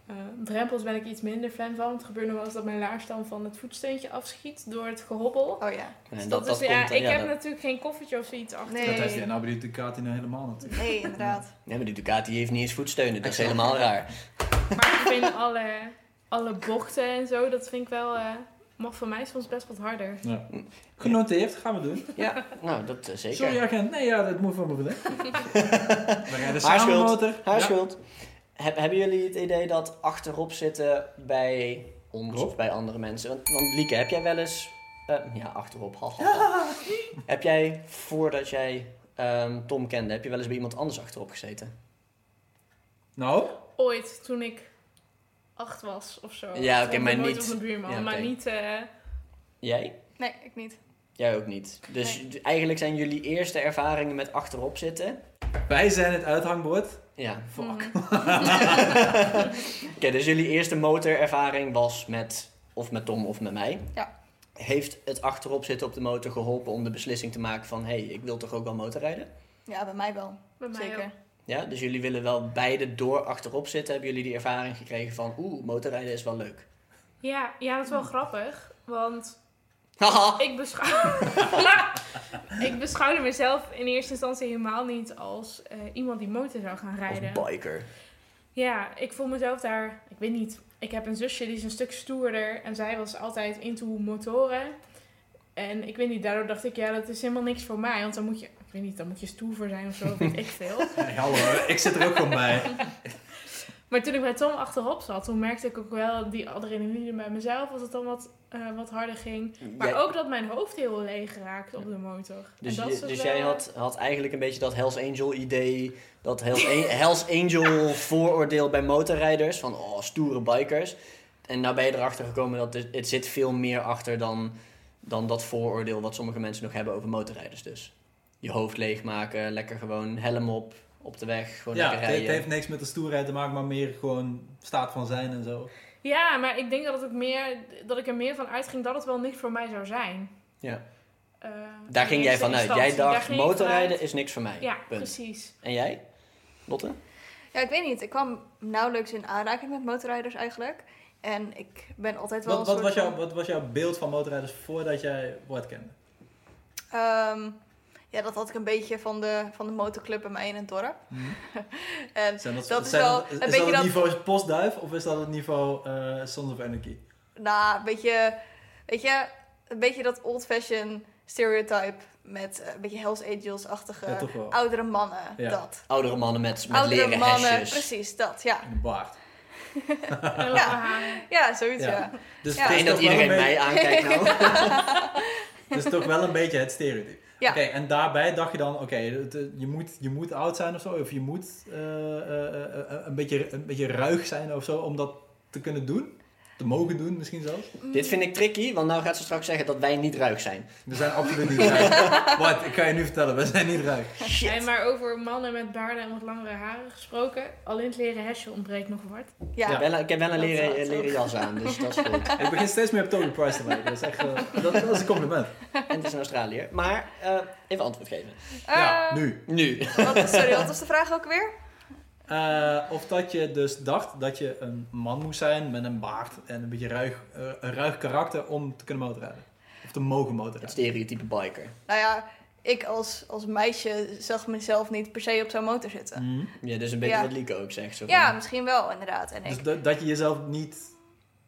Speaker 1: Eh drempels ben ik iets minder fan van. Het gebeurt nog wel eens dat mijn laars dan van het voetsteuntje afschiet door het gehobbel.
Speaker 4: Oh ja.
Speaker 3: En
Speaker 1: Dus
Speaker 3: dat,
Speaker 1: dat
Speaker 3: dat,
Speaker 1: is, ja,
Speaker 3: komt dan,
Speaker 1: ik
Speaker 3: ja,
Speaker 1: heb
Speaker 3: dat-
Speaker 1: natuurlijk geen koffertje of zoiets achter.
Speaker 4: Nee.
Speaker 2: Dat heeft hij nou bij die Ducati nou helemaal natuurlijk.
Speaker 4: Nee, inderdaad.
Speaker 3: Nee, maar die Ducati heeft niet eens voetsteunen. Dat is
Speaker 2: Exact.
Speaker 3: helemaal raar.
Speaker 1: Maar ik vind alle, alle bochten en zo, dat vind ik wel... eh, mag voor mij soms best wat harder.
Speaker 2: Ja. Genoteerd, gaan we doen.
Speaker 3: Ja, nou dat eh, zeker.
Speaker 2: Sorry agent, nee ja, dat moet van me verleden. We rijden
Speaker 3: Haar
Speaker 2: samen
Speaker 3: schuld.
Speaker 2: motor.
Speaker 3: Haar
Speaker 2: Ja.
Speaker 3: schuld. Heb- hebben jullie het idee dat achterop zitten bij ons of bij andere mensen? Want, want Lieke, heb jij wel eens... eh, ja, achterop. ha, ha, ha. Heb jij, voordat jij ehm, Tom kende, heb je wel eens bij iemand anders achterop gezeten?
Speaker 2: Nou,
Speaker 1: Ooit, toen ik acht was of zo.
Speaker 3: Ja, oké,
Speaker 1: Stond er
Speaker 3: maar
Speaker 1: nooit
Speaker 3: niet-
Speaker 1: op mijn buurman,
Speaker 3: ja, oké.
Speaker 1: maar niet... eh,
Speaker 3: Jij?
Speaker 4: Nee, ik niet.
Speaker 3: Jij ook niet. Dus
Speaker 4: Nee.
Speaker 3: d- eigenlijk zijn jullie eerste ervaringen met achterop zitten...
Speaker 2: wij zijn het uithangbord.
Speaker 3: Ja.
Speaker 2: Fuck.
Speaker 1: mm.
Speaker 3: Oké, dus jullie eerste motorervaring was met... Of met Tom of met mij.
Speaker 4: Ja.
Speaker 3: Heeft het achterop zitten op de motor geholpen om de beslissing te maken van... Hé, hey, ik wil toch ook wel motorrijden?
Speaker 4: Ja, bij mij wel.
Speaker 1: Bij mij
Speaker 4: Zeker.
Speaker 1: ook.
Speaker 3: Ja, dus jullie willen wel beide door achterop zitten. Hebben jullie die ervaring gekregen van, oeh, motorrijden is wel leuk.
Speaker 1: Ja, ja, dat is wel grappig. Want
Speaker 3: Haha.
Speaker 1: ik beschouw... ik beschouwde mezelf in eerste instantie helemaal niet als eh, iemand die motor zou gaan rijden.
Speaker 3: Of biker.
Speaker 1: Ja, ik voel mezelf daar, ik weet niet. Ik heb een zusje die is een stuk stoerder en zij was altijd into motoren. En ik weet niet, daardoor dacht ik, ja, dat is helemaal niks voor mij. Want dan moet je, ik weet niet, dan moet je stoer voor zijn of zo, weet ik veel.
Speaker 2: Hey, hallo, ik zit er ook gewoon bij.
Speaker 1: Maar toen ik bij Tom achterop zat, toen merkte ik ook wel die adrenaline bij mezelf, als het dan wat, eh, wat harder ging. Maar
Speaker 3: Jij-
Speaker 1: ook dat mijn hoofd heel leeg raakte op de motor.
Speaker 3: dus
Speaker 1: En dat
Speaker 3: je-
Speaker 1: is
Speaker 3: dus
Speaker 1: wel-
Speaker 3: jij had, had eigenlijk een beetje dat Hells Angel idee, dat Hells, An- Hells Angel vooroordeel bij motorrijders. Van, oh, stoere bikers. En nou ben je erachter gekomen dat het, het zit veel meer achter dan, dan dat vooroordeel wat sommige mensen nog hebben over motorrijders dus. Je hoofd leegmaken, lekker gewoon helm op, op de weg, gewoon
Speaker 2: Ja,
Speaker 3: lekker
Speaker 2: het, het
Speaker 3: rijden.
Speaker 2: heeft niks met de stoerheid te maken, maar meer gewoon staat van zijn en zo.
Speaker 1: Ja, maar ik denk dat, het ook meer, dat ik er meer van uitging dat het wel niks voor mij zou zijn.
Speaker 3: Ja.
Speaker 1: Eh,
Speaker 3: Daar
Speaker 1: in
Speaker 3: ging jij
Speaker 1: eerste
Speaker 3: vanuit. Jij
Speaker 1: instantie. Daar
Speaker 3: dacht,
Speaker 1: ging ik
Speaker 3: motorrijden
Speaker 1: vanuit.
Speaker 3: is niks voor mij.
Speaker 1: Ja,
Speaker 3: Punt.
Speaker 1: precies.
Speaker 3: En jij, Lotte?
Speaker 4: Ja, ik weet niet. Ik kwam nauwelijks in aanraking met motorrijders eigenlijk. En ik ben altijd wel
Speaker 2: Wat,
Speaker 4: een
Speaker 2: wat,
Speaker 4: soort
Speaker 2: was
Speaker 4: van-
Speaker 2: jouw, wat was jouw beeld van motorrijders voordat jij Word kende?
Speaker 4: Ehm, ja, dat had ik een beetje van de, van de motorclub bij mij in het dorp. En
Speaker 2: Zijn dat,
Speaker 4: Dat is
Speaker 2: zijn
Speaker 4: wel
Speaker 2: dat- is
Speaker 4: een
Speaker 2: dat
Speaker 4: beetje
Speaker 2: het
Speaker 4: dat-
Speaker 2: niveau postduif of is dat het niveau eh Sons of Anarchy?
Speaker 4: nou, een beetje, weet je, een beetje dat old-fashioned stereotype met eh, een beetje Hells Angels-achtige
Speaker 2: Ja, toch wel.
Speaker 4: oudere mannen.
Speaker 2: Ja.
Speaker 4: Dat.
Speaker 3: Oudere mannen met, met
Speaker 4: Oudere
Speaker 3: leren
Speaker 4: mannen,
Speaker 3: hesjes.
Speaker 4: precies, dat, ja.
Speaker 2: In een baard.
Speaker 1: En lange haren.
Speaker 4: Ja, zoiets,
Speaker 2: Ja.
Speaker 4: ja.
Speaker 2: Dus
Speaker 4: Ja.
Speaker 2: het
Speaker 3: Ik
Speaker 2: is
Speaker 3: denk dat
Speaker 2: toch wel
Speaker 3: iedereen
Speaker 2: een beetje-
Speaker 3: mij aankijkt nou.
Speaker 2: Dus toch wel een beetje het stereotype.
Speaker 4: Ja.
Speaker 2: Oké, en daarbij dacht je dan, oké, het, eh, je, moet, je moet oud zijn of zo, of je moet eh, eh, eh, eh, een, beetje, een beetje ruig zijn of zo, om dat te kunnen doen. Te mogen doen misschien zelfs.
Speaker 3: Dit vind ik tricky, want nou gaat ze straks zeggen dat wij niet ruig zijn.
Speaker 2: We zijn absoluut niet ruig. Wat, ik kan je nu vertellen, we zijn niet ruig.
Speaker 1: Hey, maar over mannen met baarden en wat langere haren gesproken. Alleen het leren hesje ontbreekt nog wat.
Speaker 4: Ja,
Speaker 2: Ja.
Speaker 3: Ik, heb wel- ik heb wel een
Speaker 4: Dat
Speaker 3: leren,
Speaker 4: gaat ook.
Speaker 3: leren jas aan, dus dat is goed.
Speaker 2: Ik begin steeds meer op Toby Price te lijken. Dat is echt, eh, dat, dat is een compliment.
Speaker 3: En het is een Australiër. Maar eh, even antwoord geven.
Speaker 2: Ja,
Speaker 4: Eh,
Speaker 2: nu.
Speaker 3: Nu.
Speaker 4: wat- sorry, wat was de vraag ook weer?
Speaker 2: Eh, of dat je dus dacht dat je een man moest zijn met een baard en een beetje ruig, eh, een ruig karakter om te kunnen motorrijden. Of te mogen
Speaker 3: Het
Speaker 2: motorrijden.
Speaker 3: stereotype biker.
Speaker 4: Nou ja, ik als, als meisje zag mezelf niet per se op zo'n motor zitten.
Speaker 2: Mhm.
Speaker 3: Ja, dus een beetje
Speaker 4: Ja.
Speaker 3: wat Lieke ook zegt. Zo van,
Speaker 4: Ja, misschien wel, inderdaad. En ik...
Speaker 2: Dus dat, dat je jezelf niet,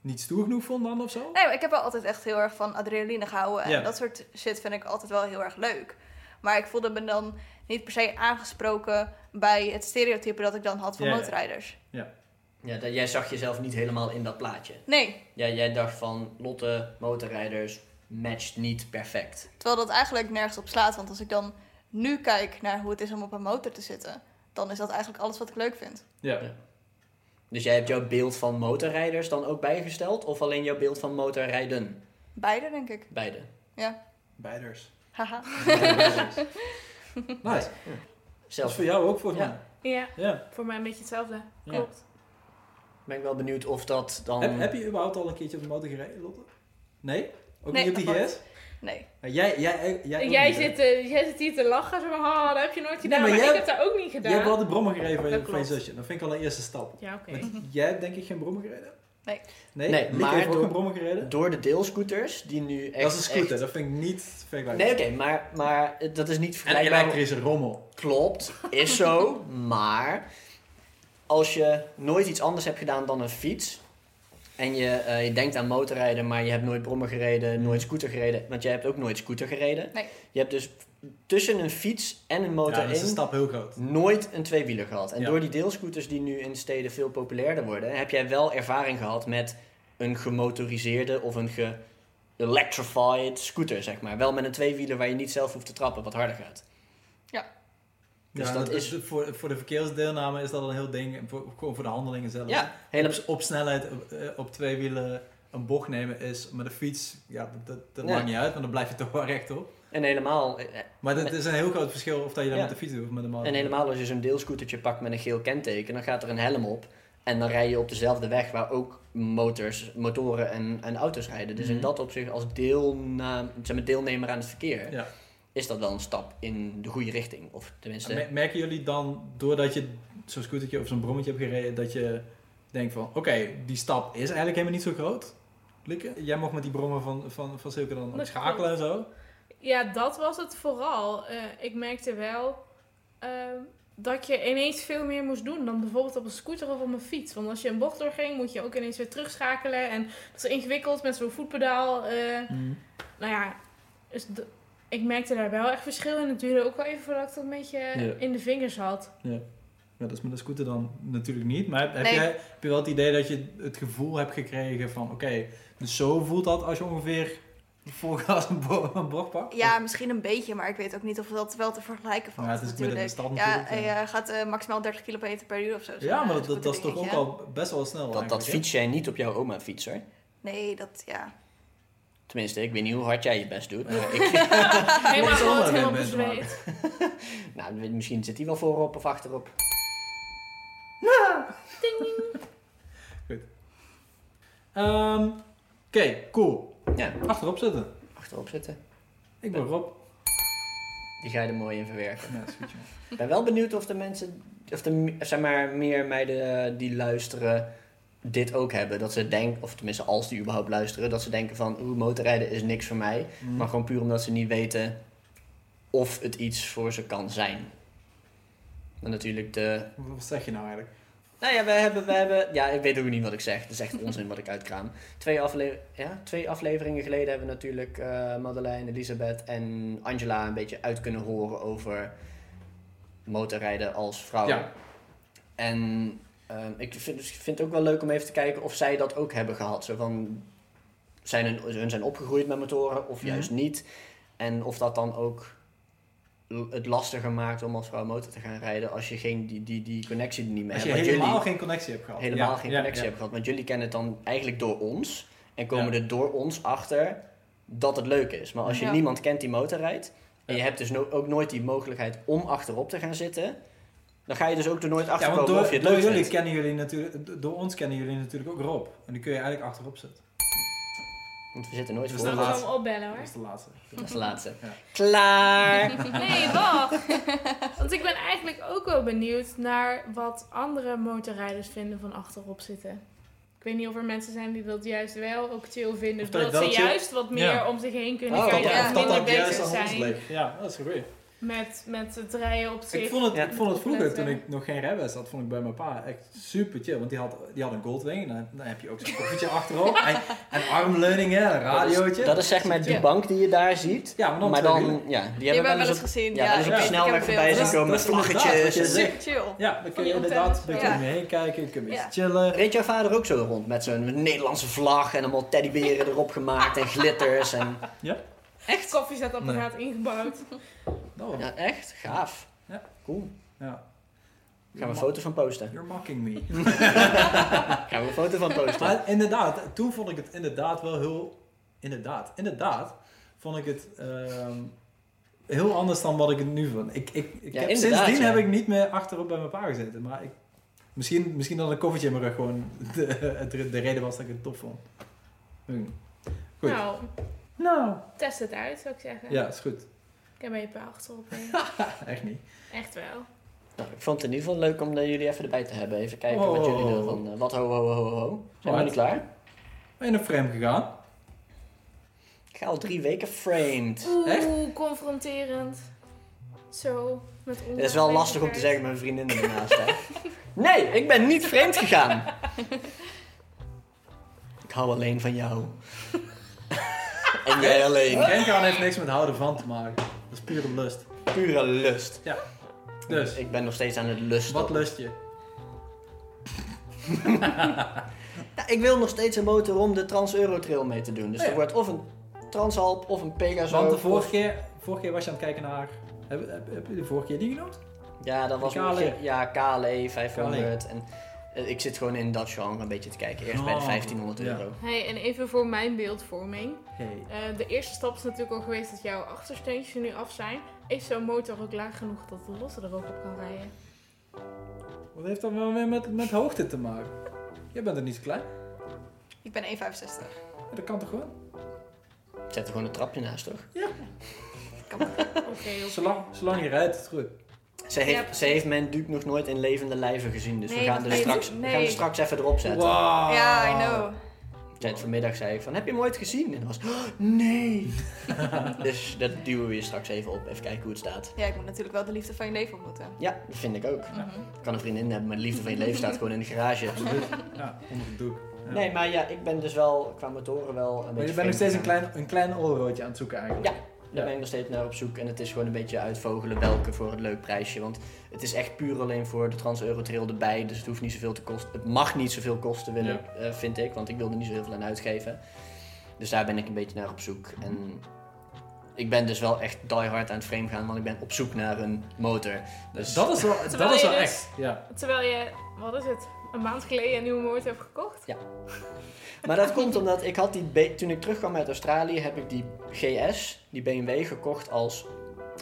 Speaker 2: niet stoer genoeg vond dan of zo?
Speaker 4: Nee, maar ik heb wel altijd echt heel erg van adrenaline gehouden. En
Speaker 2: Ja.
Speaker 4: dat soort shit vind ik altijd wel heel erg leuk. Maar ik voelde me dan niet per se aangesproken bij het stereotype dat ik dan had van
Speaker 2: Ja, ja.
Speaker 4: motorrijders.
Speaker 3: Ja, dat, jij zag jezelf niet helemaal in dat plaatje.
Speaker 4: Nee,
Speaker 3: Ja, jij dacht van, Lotte, motorrijders, matcht niet perfect.
Speaker 4: terwijl dat eigenlijk nergens op slaat. Want als ik dan nu kijk naar hoe het is om op een motor te zitten, dan is dat eigenlijk alles wat ik leuk vind.
Speaker 2: Ja.
Speaker 3: Dus jij hebt jouw beeld van motorrijders dan ook bijgesteld? Of alleen jouw beeld van motorrijden?
Speaker 4: Beide, denk ik.
Speaker 3: Beide.
Speaker 2: Bijders.
Speaker 4: Haha.
Speaker 2: nice. Dat is
Speaker 3: Zelf
Speaker 2: voor jou ook volgens
Speaker 3: Ja.
Speaker 2: mij.
Speaker 1: Ja,
Speaker 2: Ja.
Speaker 1: voor mij een beetje hetzelfde.
Speaker 2: Ja.
Speaker 1: Klopt.
Speaker 3: ben ik wel benieuwd of dat dan... eh,
Speaker 2: Heb, heb je überhaupt al een keertje op de motor gereden, Lotte? Nee? Ook
Speaker 4: Nee,
Speaker 2: niet op
Speaker 4: nog
Speaker 2: de
Speaker 4: nooit.
Speaker 2: GS?
Speaker 4: Nee.
Speaker 2: Ja, Jij, jij, jij, ook
Speaker 1: Jij
Speaker 2: niet, hè?
Speaker 1: zit, eh, jij zit hier te lachen, zo van, oh, dat heb je nooit gedaan,
Speaker 2: maar
Speaker 1: maar,
Speaker 2: jij-
Speaker 1: ik heb dat ook niet
Speaker 2: Jij hebt
Speaker 1: gedaan.
Speaker 2: wel de brommer gereden van je,
Speaker 1: Dat
Speaker 2: van je
Speaker 1: klopt.
Speaker 2: zusje. Dat vind ik al een eerste stap.
Speaker 1: Ja, oké.
Speaker 2: Want jij hebt denk ik geen brommer gereden?
Speaker 4: Nee.
Speaker 2: Nee,
Speaker 3: Nee,
Speaker 2: Lieke
Speaker 3: maar
Speaker 2: heeft ook
Speaker 3: door-
Speaker 2: een brommer gereden?
Speaker 3: Door de deelscooters, die nu echt...
Speaker 2: dat is een scooter,
Speaker 3: echt-
Speaker 2: dat vind ik niet vergelijkbaar.
Speaker 3: Nee, oké, maar, maar dat is niet
Speaker 2: En
Speaker 3: vergelijkbaar.
Speaker 2: elektrische rommel.
Speaker 3: Klopt, is zo. maar als je nooit iets anders hebt gedaan dan een fiets. En je, eh, je denkt aan motorrijden, maar je hebt nooit brommer
Speaker 2: Mhm.
Speaker 3: gereden, nooit scooter gereden. Want jij hebt ook nooit scooter gereden.
Speaker 4: Nee.
Speaker 3: Je hebt dus tussen een fiets en een
Speaker 2: ja,
Speaker 3: motor
Speaker 2: dat is een
Speaker 3: in
Speaker 2: stap heel groot.
Speaker 3: nooit een tweewieler gehad. En
Speaker 2: Ja.
Speaker 3: door die deelscooters die nu in steden veel populairder worden, heb jij wel ervaring gehad met een gemotoriseerde of een ge-electrified scooter, zeg maar. Wel met een tweewieler waar je niet zelf hoeft te trappen, wat harder gaat. Dus
Speaker 2: ja,
Speaker 3: dat
Speaker 2: dat is...
Speaker 3: is-
Speaker 2: Voor, voor de verkeersdeelname is dat een heel ding. en Voor, gewoon voor de handelingen zelf. Dus
Speaker 3: Ja, hele
Speaker 2: Op, op snelheid op, eh, op twee wielen een bocht nemen is met een fiets, ja, dat, dat
Speaker 3: Ja.
Speaker 2: maakt niet uit, want dan blijf je toch wel rechtop.
Speaker 3: En helemaal, eh,
Speaker 2: Maar het is een heel groot verschil of dat je dat
Speaker 3: Ja.
Speaker 2: met de fiets doet of met de motor.
Speaker 3: en helemaal als je zo'n deelscootertje pakt met een geel kenteken, dan gaat er een helm op. En dan rij je op dezelfde weg waar ook motors, motoren en, en auto's rijden. Dus in
Speaker 2: Mhm.
Speaker 3: dat opzicht, als deelna, zeg maar deelnemer aan het verkeer,
Speaker 2: Ja.
Speaker 3: is dat wel een stap in de goede richting. Of tenminste,
Speaker 2: Me- Merken jullie dan, doordat je zo'n scootertje of zo'n brommetje hebt gereden, dat je denkt van, oké, die stap is eigenlijk helemaal niet zo groot? Likke, jij mocht met die brommen van, van, van Silke dan ook
Speaker 1: Dat
Speaker 2: schakelen en zo.
Speaker 1: Ja, dat was het vooral. Eh, ik merkte wel ehm, dat je ineens veel meer moest doen dan bijvoorbeeld op een scooter of op een fiets. Want als je een bocht doorging, moet je ook ineens weer terugschakelen. En dat is ingewikkeld met zo'n voetpedaal. eh,
Speaker 3: Mm.
Speaker 1: nou ja, dus d- ik merkte daar wel echt verschil in. Het duurde ook wel even voordat ik dat een beetje
Speaker 2: Ja.
Speaker 1: in de vingers had.
Speaker 2: Ja, dat is met een scooter dan natuurlijk niet. Maar heb, heb
Speaker 4: Nee.
Speaker 2: jij, heb je wel het idee dat je het gevoel hebt gekregen van, oké, dus zo voelt dat als je ongeveer vol gas een, bo- een bocht pakt?
Speaker 4: Ja, misschien een beetje, maar ik weet ook niet of dat wel te vergelijken valt.
Speaker 2: Maar het is met een stad
Speaker 4: Ja,
Speaker 2: natuurlijk.
Speaker 4: hij
Speaker 2: ja.
Speaker 4: eh, gaat eh, maximaal 30 km per uur of zo.
Speaker 2: Ja,
Speaker 4: zo'n,
Speaker 2: maar
Speaker 4: eh,
Speaker 2: dat, dat, dat is toch ook
Speaker 4: scooterdingetje.
Speaker 2: al best wel snel
Speaker 3: dat, dat
Speaker 2: eigenlijk, hè?
Speaker 3: fiets jij niet op jouw oma fiets hoor.
Speaker 4: Nee, dat ja.
Speaker 3: Tenminste, ik weet niet hoe hard jij je best doet. maar ik-
Speaker 1: Helemaal
Speaker 2: zal
Speaker 1: rood,
Speaker 2: wel
Speaker 1: helemaal
Speaker 2: weer mensen maken.
Speaker 1: bezweet.
Speaker 3: nou, misschien zit hij wel voorop of achterop.
Speaker 2: Ehm, Oké, cool.
Speaker 3: Ja,
Speaker 2: Achterop zitten.
Speaker 3: achterop zitten.
Speaker 2: Ik ben Rob.
Speaker 3: Die ga je er mooi in verwerken.
Speaker 2: Ja, is goed, joh.
Speaker 3: Ik ben wel benieuwd of de mensen, of de, zeg maar, meer meiden eh, die luisteren dit ook hebben. Dat ze denken, of tenminste als die überhaupt luisteren, dat ze denken van, oeh, motorrijden is niks voor mij. Maar gewoon puur omdat ze niet weten of het iets voor ze kan zijn. En natuurlijk de...
Speaker 2: Wat zeg je nou eigenlijk?
Speaker 3: Nou ja, we hebben, we hebben... Ja, ik weet ook niet wat ik zeg. Het is echt onzin wat ik uitkraam. Twee, afle ja, twee afleveringen geleden hebben we natuurlijk eh Madeleine, Elisabeth en Angela een beetje uit kunnen horen over motorrijden als vrouw.
Speaker 2: Ja.
Speaker 3: En ehm, ik vind, dus ik vind het ook wel leuk om even te kijken of zij dat ook hebben gehad. Zo van, zijn hun, hun zijn opgegroeid met motoren
Speaker 2: Mhm.
Speaker 3: of juist niet. En of dat dan ook l- het lastiger maakt om als vrouw motor te gaan rijden als je geen, die, die, die connectie er niet meer
Speaker 2: Als
Speaker 3: hebt.
Speaker 2: je
Speaker 3: Want
Speaker 2: helemaal
Speaker 3: jullie-
Speaker 2: geen connectie hebt gehad.
Speaker 3: helemaal
Speaker 2: Ja,
Speaker 3: geen
Speaker 2: ja,
Speaker 3: connectie
Speaker 2: ja.
Speaker 3: hebben gehad. Want jullie kennen het dan eigenlijk door ons. En komen
Speaker 2: Ja.
Speaker 3: er door ons achter dat het leuk is. Maar als je
Speaker 4: Ja.
Speaker 3: niemand kent die motorrijdt. En
Speaker 2: Ja.
Speaker 3: je hebt dus no- ook nooit die mogelijkheid om achterop te gaan zitten. Dan ga je dus ook er nooit achter
Speaker 2: Ja,
Speaker 3: komen
Speaker 2: want door,
Speaker 3: of je het
Speaker 2: door
Speaker 3: leuk
Speaker 2: jullie
Speaker 3: vindt.
Speaker 2: kennen jullie natuurlijk, d- door ons kennen jullie natuurlijk ook Rob. En die kun je eigenlijk achterop zetten.
Speaker 3: Want we zitten nooit
Speaker 2: Dus
Speaker 3: voor.
Speaker 1: Nou,
Speaker 2: de
Speaker 1: ik
Speaker 2: laatste.
Speaker 1: zal hem opbellen
Speaker 2: Dat
Speaker 1: hoor.
Speaker 2: is de laatste.
Speaker 3: Dat is de laatste.
Speaker 2: Ja.
Speaker 3: Klaar!
Speaker 1: Nee, wacht. Want ik ben eigenlijk ook wel benieuwd naar wat andere motorrijders vinden van achterop zitten. Ik weet niet of er mensen zijn die dat juist wel ook chill vinden.
Speaker 2: Of dat
Speaker 1: dat
Speaker 2: wel
Speaker 1: ze
Speaker 2: chill-
Speaker 1: juist wat meer
Speaker 2: Ja.
Speaker 1: om zich heen kunnen
Speaker 3: Oh,
Speaker 2: Dat-
Speaker 1: kijken.
Speaker 4: ja,
Speaker 1: en
Speaker 2: dat
Speaker 1: minder
Speaker 2: dat juist
Speaker 1: bezig
Speaker 2: aan ons
Speaker 1: zijn
Speaker 2: leek. Ja, dat is een goeie.
Speaker 1: met, met het rijden op zich.
Speaker 2: Ik vond het,
Speaker 3: Ja.
Speaker 2: ik vond het vroeger,
Speaker 1: Opletten.
Speaker 2: toen ik nog geen rijbewijs had, vond ik bij mijn pa echt super chill. Want die had, die had een Goldwing en dan, dan heb je ook zo'n koffietje achterop. En, en armleuningen, een
Speaker 3: Dat is,
Speaker 2: radiootje.
Speaker 3: dat is zeg maar die
Speaker 2: Ja.
Speaker 3: bank die je daar ziet.
Speaker 2: ja, maar dan,
Speaker 3: maar
Speaker 2: twee
Speaker 3: dan,
Speaker 2: wielen.
Speaker 3: ja, die
Speaker 4: Die hebben
Speaker 3: hebben
Speaker 4: we wel eens
Speaker 3: op,
Speaker 4: gezien.
Speaker 3: ja, wel eens op
Speaker 2: ja,
Speaker 3: de
Speaker 2: ik
Speaker 3: snelweg voorbij
Speaker 2: beelden.
Speaker 3: zien komen met
Speaker 2: Dat is inderdaad wat je
Speaker 3: vlaggetjes.
Speaker 2: zegt.
Speaker 3: en-
Speaker 4: Super chill.
Speaker 2: Ja, dan kun je
Speaker 1: Van die
Speaker 2: inderdaad een
Speaker 1: antennes,
Speaker 2: beetje
Speaker 4: ja.
Speaker 2: om je heen kijken, je kunt een beetje
Speaker 4: Ja.
Speaker 2: chillen.
Speaker 3: Reed jouw vader ook zo rond met zo'n Nederlandse vlag en allemaal teddyberen erop gemaakt en glitters en...
Speaker 1: Echt koffiezetapparaat ingebouwd.
Speaker 2: Dat wel.
Speaker 3: Ja, echt? Gaaf.
Speaker 2: Ja.
Speaker 3: Cool.
Speaker 2: Oh, Ja.
Speaker 3: Gaan we een foto van posten.
Speaker 2: You're mocking me.
Speaker 3: Gaan we een foto van posten.
Speaker 2: Maar inderdaad, toen vond ik het inderdaad wel heel... Inderdaad, inderdaad vond ik het ehm, heel anders dan wat ik het nu vond. Ik, ik, ik
Speaker 3: Ja,
Speaker 2: heb,
Speaker 3: inderdaad,
Speaker 2: sindsdien
Speaker 3: ja.
Speaker 2: heb ik niet meer achterop bij mijn pa gezeten. Maar ik, misschien, misschien dat een koffertje in mijn rug gewoon de, het- de reden was dat ik het top vond. Hm. Weet ik niet. Goed.
Speaker 1: Nou,
Speaker 2: Nou.
Speaker 1: test het uit, zou ik zeggen.
Speaker 2: Ja, is goed.
Speaker 1: Ik heb een paar achterop. hè.
Speaker 2: Echt niet.
Speaker 1: Echt wel.
Speaker 3: Nou, ik vond het in ieder geval leuk om eh, jullie even erbij te hebben. Even kijken wat
Speaker 2: Oh.
Speaker 3: jullie ervan... eh, wat ho ho ho ho. Zijn we
Speaker 2: Wat?
Speaker 3: niet klaar?
Speaker 2: Ben je een frame gegaan?
Speaker 3: Ik ga al drie weken framed.
Speaker 1: Oeh,
Speaker 2: Echt?
Speaker 1: confronterend. Zo, met
Speaker 3: Het is wel lastig om te zeggen met mijn vriendin ernaast. Hè? Nee, ik ben niet vreemd gegaan. Ik hou alleen van jou. En jij alleen.
Speaker 2: Frame gaan heeft niks met houden van te maken. Dat is pure lust.
Speaker 3: Pure lust.
Speaker 2: Dus,
Speaker 3: Ik ben nog steeds aan het lusten.
Speaker 2: wat lust je?
Speaker 3: Ja, ik wil nog steeds een motor om de Trans-Eurotrail mee te doen. Dus
Speaker 2: Oh ja.
Speaker 3: er wordt of een Transalp of een Pegasus.
Speaker 2: Want de vorige keer, vorige keer was je aan het kijken naar... Heb, heb, heb je de vorige keer die genoemd?
Speaker 3: Ja, dat was
Speaker 2: KLE.
Speaker 3: KLE. Ja, KLE 500. En eh, ik zit gewoon in dat genre een beetje te kijken. Eerst bij de
Speaker 2: E. Oh,
Speaker 3: 1500
Speaker 2: ja.
Speaker 3: euro.
Speaker 1: Hey, en even voor mijn beeldvorming.
Speaker 2: Hey.
Speaker 1: Eh, de eerste stap is natuurlijk al geweest dat jouw achtersteuntjes er nu af zijn. Is zo'n motor ook laag genoeg dat de losse er ook op kan rijden?
Speaker 2: Wat heeft dat wel weer met, met hoogte te maken? Jij bent er niet zo klein.
Speaker 4: Ik ben 1,65.
Speaker 2: Ja, Dat kan toch gewoon?
Speaker 3: Zet er gewoon een trapje naast, toch?
Speaker 1: Oké, joh.
Speaker 2: Zolang, zolang je rijdt, is het goed.
Speaker 3: Ze
Speaker 1: Ja,
Speaker 3: heeft,
Speaker 1: precies.
Speaker 3: ze heeft mijn Duke nog nooit in levende lijven gezien. Dus we,
Speaker 1: Nee,
Speaker 3: gaan
Speaker 1: dat
Speaker 3: er
Speaker 1: weet ik.
Speaker 3: straks, we gaan er
Speaker 1: Nee.
Speaker 3: straks even erop zetten.
Speaker 2: Wow.
Speaker 4: Ja, I know.
Speaker 3: Ik zei het vanmiddag zei ik van, heb je hem ooit gezien? En dan was het, "Oh, nee. dus dat duwen we je straks even op. Even kijken hoe het staat.
Speaker 4: Ja, ik moet natuurlijk wel de liefde van je leven ontmoeten.
Speaker 3: Ja, dat vind ik ook.
Speaker 4: Mhm.
Speaker 3: Ik kan een vriendin hebben, maar de liefde van je leven staat gewoon in de garage.
Speaker 2: Ja, onder het doek. Ja.
Speaker 3: Nee, maar ja, ik ben dus wel qua motoren wel een beetje.
Speaker 2: Maar je bent nog
Speaker 3: vreemd
Speaker 2: steeds een
Speaker 3: gegaan.
Speaker 2: klein, een klein olroodje aan het zoeken eigenlijk.
Speaker 3: Ja. Daar ben ik nog steeds naar op zoek. En het is gewoon een beetje uitvogelen welke voor het leuk prijsje. Want het is echt puur alleen voor de Trans-Eurotrail erbij. Dus het hoeft niet zoveel te kosten. Het mag niet zoveel kosten, wil
Speaker 2: Ja.
Speaker 3: ik, eh, vind ik. Want ik wil er niet zo heel veel aan uitgeven. Dus daar ben ik een beetje naar op zoek. En ik ben dus wel echt die hard aan het frame gaan. Want ik ben op zoek naar een motor. Dus
Speaker 2: Dat is wel, dat
Speaker 1: Terwijl
Speaker 2: is
Speaker 1: je
Speaker 2: wel
Speaker 1: dus-
Speaker 2: echt. Ja.
Speaker 1: Terwijl je, wat is het, een maand geleden een nieuwe motor hebt gekocht?
Speaker 3: Maar dat komt omdat ik had die... B- Toen ik terugkwam uit Australië heb ik die GS, die BMW, gekocht als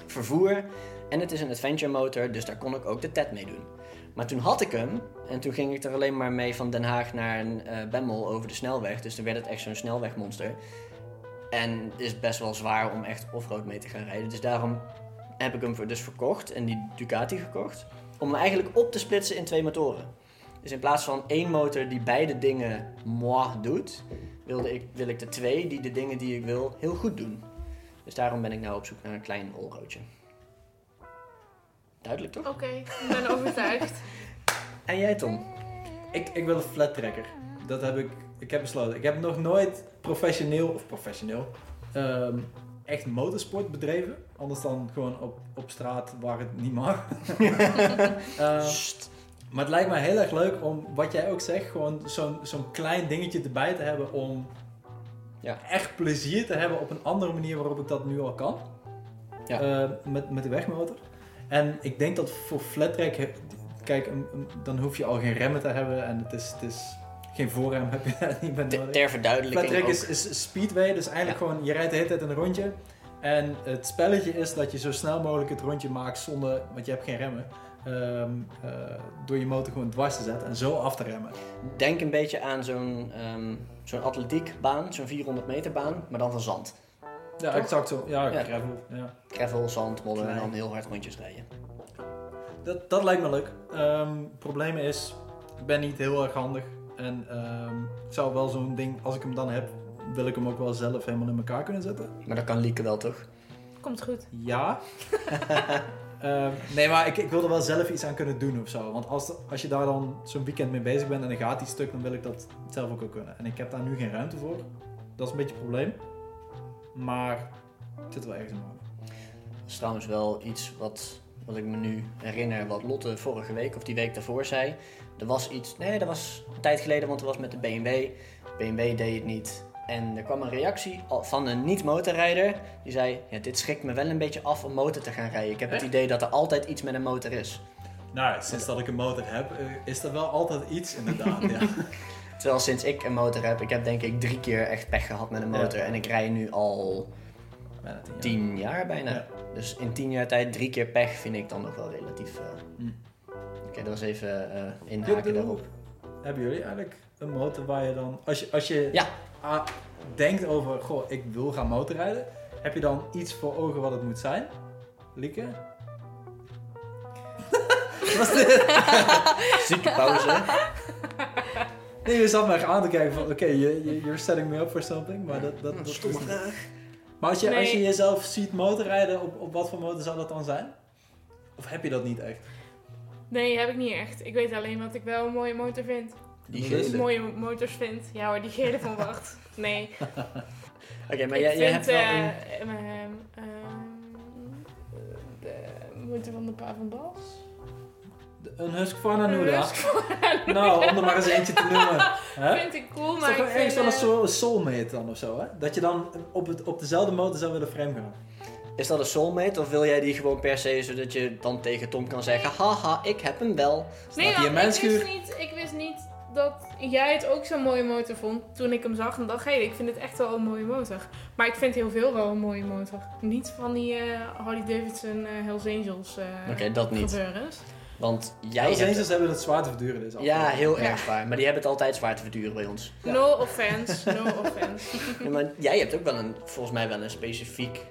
Speaker 3: vervoer. En het is een adventure motor, dus daar kon ik ook de TED mee doen. Maar toen had ik hem en toen ging ik er alleen maar mee van Den Haag naar een eh Bemmel over de snelweg. Dus toen werd het echt zo'n snelwegmonster. En het is best wel zwaar om echt offroad mee te gaan rijden. Dus daarom heb ik hem voor- dus verkocht en die Ducati gekocht. Om hem eigenlijk op te splitsen in twee motoren. Dus in plaats van één motor die beide dingen moi doet, wilde ik, wil ik de twee die de dingen die ik wil heel goed doen. Dus daarom ben ik nou op zoek naar een klein olroodje. Duidelijk toch?
Speaker 1: Oké, ik ben overtuigd.
Speaker 3: En jij Tom?
Speaker 2: Ik, ik wil een flat tracker. Dat heb ik, ik heb besloten. Ik heb nog nooit professioneel, of professioneel, ehm, echt motorsport bedreven. Anders dan gewoon op, op straat waar het niet mag. Ehm,
Speaker 3: Sst.
Speaker 2: maar het lijkt me heel erg leuk om, wat jij ook zegt, gewoon zo'n zo'n klein dingetje erbij te hebben om
Speaker 3: Ja.
Speaker 2: echt plezier te hebben op een andere manier waarop ik dat nu al kan.
Speaker 3: Ja.
Speaker 2: Eh, met, met de wegmotor. En ik denk dat voor flattrack, he- kijk, een- een- dan hoef je al geen remmen te hebben en het is, het is geen voorrem heb je daar niet meer
Speaker 3: Ter,
Speaker 2: nodig.
Speaker 3: ter verduidelijking
Speaker 2: Flattrack
Speaker 3: ook.
Speaker 2: is, is speedway, dus eigenlijk gewoon, je rijdt de hele tijd in een rondje. En het spelletje is dat je zo snel mogelijk het rondje maakt zonder, want je hebt geen remmen, ehm, eh, door je motor gewoon dwars te zetten en zo af te remmen.
Speaker 3: Denk een beetje aan zo'n ehm, zo'n atletiekbaan, zo'n 400 meter baan, maar dan van zand.
Speaker 2: Ja,
Speaker 3: Toch?
Speaker 2: exact zo. Ja,
Speaker 3: Ja.
Speaker 2: gravel. Ja.
Speaker 3: Gravel, zand, modder en
Speaker 2: Klein.
Speaker 3: dan heel hard rondjes rijden.
Speaker 2: Dat, dat lijkt me leuk. Ehm probleem is, ik ben niet heel erg handig. En ehm, ik zou wel zo'n ding, als ik hem dan heb, wil ik hem ook wel zelf helemaal in elkaar kunnen zetten.
Speaker 3: Maar dat kan Lieke wel toch?
Speaker 1: Komt goed.
Speaker 2: Ja. Ehm, nee, maar ik, ik wil er wel zelf iets aan kunnen doen of zo. Want als, als je daar dan zo'n weekend mee bezig bent en dan gaat die stuk, dan wil ik dat zelf ook wel kunnen. En ik heb daar nu geen ruimte voor. Dat is een beetje een probleem. Maar het zit er wel ergens in. mijn hoofd.
Speaker 3: Dat is trouwens wel iets wat, wat ik me nu herinner, wat Lotte vorige week of die week daarvoor zei. Er was iets, nee, dat was een tijd geleden, want er was met de BMW. BMW deed het niet. En er kwam een reactie al- van een niet-motorrijder. Die zei, ja, dit schrikt me wel een beetje af om motor te gaan rijden. Ik heb het
Speaker 2: Echt?
Speaker 3: idee dat er altijd iets met een motor is.
Speaker 2: Nou, sinds dat ik een motor heb, eh, is er wel altijd iets inderdaad. ja.
Speaker 3: Terwijl sinds ik een motor heb, ik heb denk ik drie keer echt pech gehad met een
Speaker 2: Ja.
Speaker 3: motor. En ik rij nu al
Speaker 2: Bijna tien jaar.
Speaker 3: tien jaar bijna.
Speaker 2: Ja.
Speaker 3: Dus in tien jaar tijd drie keer pech vind ik dan nog wel relatief... eh,
Speaker 2: Hm.
Speaker 3: Oké, dat was even eh
Speaker 2: Joep,
Speaker 3: inhaken
Speaker 2: doe.
Speaker 3: daarop.
Speaker 2: Hebben jullie eigenlijk een motor waar je dan, als je, als je
Speaker 3: Ja.
Speaker 2: a- denkt over, goh, ik wil gaan motorrijden, heb je dan iets voor ogen wat het moet zijn? Lieke? Was dit?
Speaker 3: Zieke pauze.
Speaker 2: Nee, je zat maar aan te kijken van, oké, je- je- you're setting me up for something, maar dat, dat, dat is niet. Maar als je, als je
Speaker 1: Nee.
Speaker 2: jezelf ziet motorrijden, op, op wat voor motor zou dat dan zijn? Of heb je dat niet echt?
Speaker 1: Nee, heb ik niet echt. Ik weet alleen wat ik wel een mooie motor vind.
Speaker 3: Die
Speaker 2: Dat is
Speaker 3: gele.
Speaker 1: Mooie motors vind. Ja hoor, die gele van wacht. Nee.
Speaker 3: Oké, maar
Speaker 1: ik
Speaker 3: jij, jij hebt
Speaker 1: vind
Speaker 3: wel
Speaker 1: eh,
Speaker 3: een...
Speaker 1: ehm, ehm, ehm, de motor van de pa van Bas.
Speaker 2: De- Een Husqvarna
Speaker 1: Een
Speaker 2: Nura. Nou, om er maar eens eentje te noemen. Hè?
Speaker 1: Vind ik
Speaker 4: Oh
Speaker 1: cool,
Speaker 2: Het is
Speaker 1: maar
Speaker 2: toch
Speaker 1: ik vind...
Speaker 2: wel ergens wel
Speaker 1: eh,
Speaker 2: een soul- soulmate dan of zo, hè? Dat je dan op, het, op dezelfde motor zou willen frame gaan.
Speaker 3: Is dat een soulmate of wil jij die gewoon per se zodat je dan tegen Tom kan zeggen: Haha, ik heb hem wel?
Speaker 1: Nee,
Speaker 2: Staat hier
Speaker 1: want ik
Speaker 2: menskuur?
Speaker 1: wist, niet, ik wist niet dat jij het ook zo'n mooie motor vond toen ik hem zag. En dacht, hé, ik vind het echt wel een mooie motor. Maar ik vind heel veel wel een mooie motor. Niet van die eh, Harley Davidson eh, Hells Angels eh
Speaker 3: Oké, dat niet.
Speaker 1: gebeurens.
Speaker 3: Want jij
Speaker 2: Als
Speaker 3: hebt.
Speaker 2: eens hebben het zwaar te verduren deze
Speaker 3: Ja,
Speaker 2: aflevering.
Speaker 3: heel
Speaker 1: Ja.
Speaker 3: erg waar. Maar die hebben het altijd zwaar te verduren bij ons.
Speaker 2: Ja.
Speaker 1: No offense, no offense.
Speaker 3: Ja, maar jij hebt ook wel een, volgens mij wel een specifiek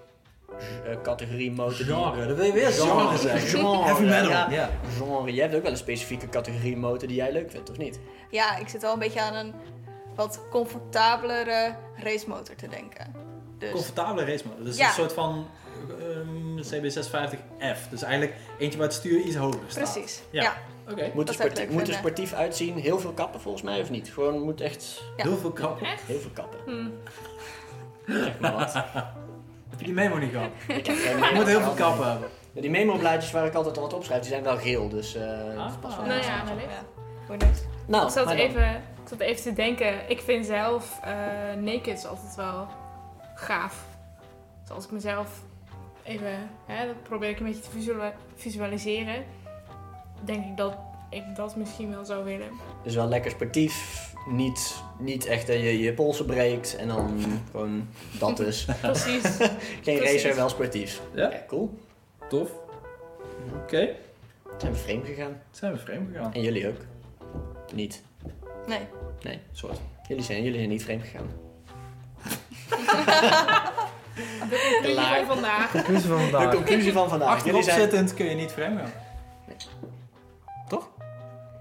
Speaker 3: eh, categorie motor. die-
Speaker 2: Genre, dat wil je weer genre
Speaker 3: Genre.
Speaker 2: zeggen.
Speaker 3: Genre,
Speaker 2: Heavy
Speaker 5: Oh,
Speaker 2: metal.
Speaker 3: ja.
Speaker 2: ja.
Speaker 3: Genre. Jij hebt ook wel een specifieke categorie motor die jij leuk vindt, of niet?
Speaker 4: Ja, ik zit wel een beetje aan een wat comfortabelere racemotor te denken. Dus
Speaker 2: Comfortabele race mode. Dus
Speaker 4: Ja.
Speaker 2: een soort van ehm, CB650F. Dus eigenlijk eentje waar het stuur iets hoger staat.
Speaker 4: precies.
Speaker 2: Ja.
Speaker 4: Ja.
Speaker 2: Oké.
Speaker 3: Moet, er
Speaker 4: Dat zou ik
Speaker 3: sportief-
Speaker 4: leuk
Speaker 3: moet er
Speaker 4: vinden.
Speaker 3: sportief uitzien, heel veel kappen volgens mij, of niet? Gewoon moet echt
Speaker 4: Ja.
Speaker 2: Heel veel kappen.
Speaker 1: Echt?
Speaker 3: heel veel kappen.
Speaker 1: Hm.
Speaker 3: Zeg maar wat.
Speaker 2: Heb je die memo niet gehad?
Speaker 3: Ik heb geen
Speaker 2: Je moet heel veel kappen hebben.
Speaker 3: Ja, Die memoblaadjes waar ik altijd al wat opschrijf, die zijn wel geel, dus... eh
Speaker 2: Ah.
Speaker 3: dat past wel.
Speaker 1: Nou ja,
Speaker 4: Ja.
Speaker 1: wellicht.
Speaker 4: Who knows?
Speaker 3: Nou,
Speaker 1: Ik zat,
Speaker 3: maar dan-
Speaker 1: even, ik zat even te denken. Ik vind zelf eh nakeds altijd wel gaaf. Dus als ik mezelf even, hè, dat probeer ik een beetje te visuali- visualiseren. Denk ik dat ik dat misschien wel zou willen.
Speaker 3: Dus wel lekker sportief, niet, niet echt dat je je polsen breekt en dan gewoon dat dus.
Speaker 1: Precies.
Speaker 3: Geen
Speaker 1: Precies.
Speaker 3: racer, wel sportief.
Speaker 2: Ja.
Speaker 3: cool.
Speaker 2: Tof. Oké.
Speaker 3: Zijn we vreemd gegaan.
Speaker 2: Zijn we vreemd gegaan?
Speaker 3: En jullie ook. Niet.
Speaker 4: Nee.
Speaker 2: Soort.
Speaker 3: Jullie zijn, jullie zijn niet vreemd gegaan.
Speaker 1: De conclusie
Speaker 3: Klaar.
Speaker 1: van vandaag.
Speaker 2: Conclusie van
Speaker 3: De conclusie van vandaag.
Speaker 2: Achterop
Speaker 3: jullie zijn...
Speaker 2: zittend kun je niet vreemd gaan.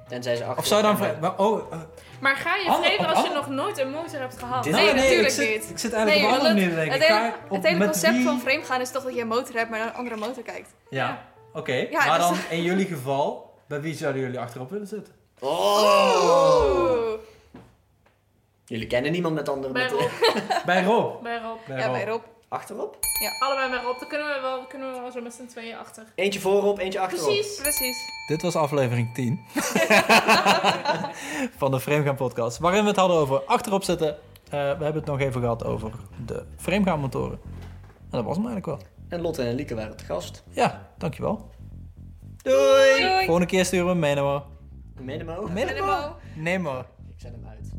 Speaker 3: Tenzij ze achter.
Speaker 2: Of zou dan vreemd... maar- Oh, eh,
Speaker 1: Maar ga je
Speaker 2: Ander-
Speaker 1: vreemd als je
Speaker 2: ander-
Speaker 1: nog nooit een motor hebt gehad?
Speaker 3: Dit-
Speaker 4: Nee,
Speaker 2: nou,
Speaker 4: natuurlijk
Speaker 2: ik zit,
Speaker 4: niet.
Speaker 2: Ik zit eigenlijk
Speaker 4: Nee,
Speaker 2: op een andere
Speaker 4: want
Speaker 2: manier te denken.
Speaker 4: Het
Speaker 2: Ik
Speaker 4: hele,
Speaker 2: ga op-
Speaker 4: het hele
Speaker 2: met
Speaker 4: concept
Speaker 2: wie-
Speaker 4: van vreemd gaan is toch dat je een motor hebt, maar naar een andere motor kijkt.
Speaker 2: Ja, oké.
Speaker 4: Ja,
Speaker 2: maar dan
Speaker 4: dus-
Speaker 2: in jullie geval, bij wie zouden jullie achterop willen zitten?
Speaker 3: Oh! Jullie kennen niemand met andere
Speaker 1: Bij
Speaker 3: met...
Speaker 1: Rob.
Speaker 2: Bij Rob.
Speaker 1: Bij Rob.
Speaker 2: Bij
Speaker 4: Ja,
Speaker 2: Rob.
Speaker 4: bij Rob.
Speaker 3: Achterop?
Speaker 1: Allebei bij Rob. Dan kunnen we wel, kunnen we wel zo met z'n tweeën achter.
Speaker 3: Eentje voorop, eentje achterop.
Speaker 1: Precies.
Speaker 4: Precies.
Speaker 2: Dit was aflevering 10 van de Framegaan podcast. Waarin we het hadden over achterop zitten. Eh, we hebben het nog even gehad over de Framegaan motoren. En dat was hem eigenlijk wel.
Speaker 3: En Lotte en Lieke waren het gast.
Speaker 2: Ja, dankjewel.
Speaker 3: Doei!
Speaker 4: Doei.
Speaker 2: Volgende keer sturen we een memo.
Speaker 3: Minimo.
Speaker 2: Memo?
Speaker 4: Minimal.
Speaker 2: Nemo.
Speaker 3: Ik zet hem uit.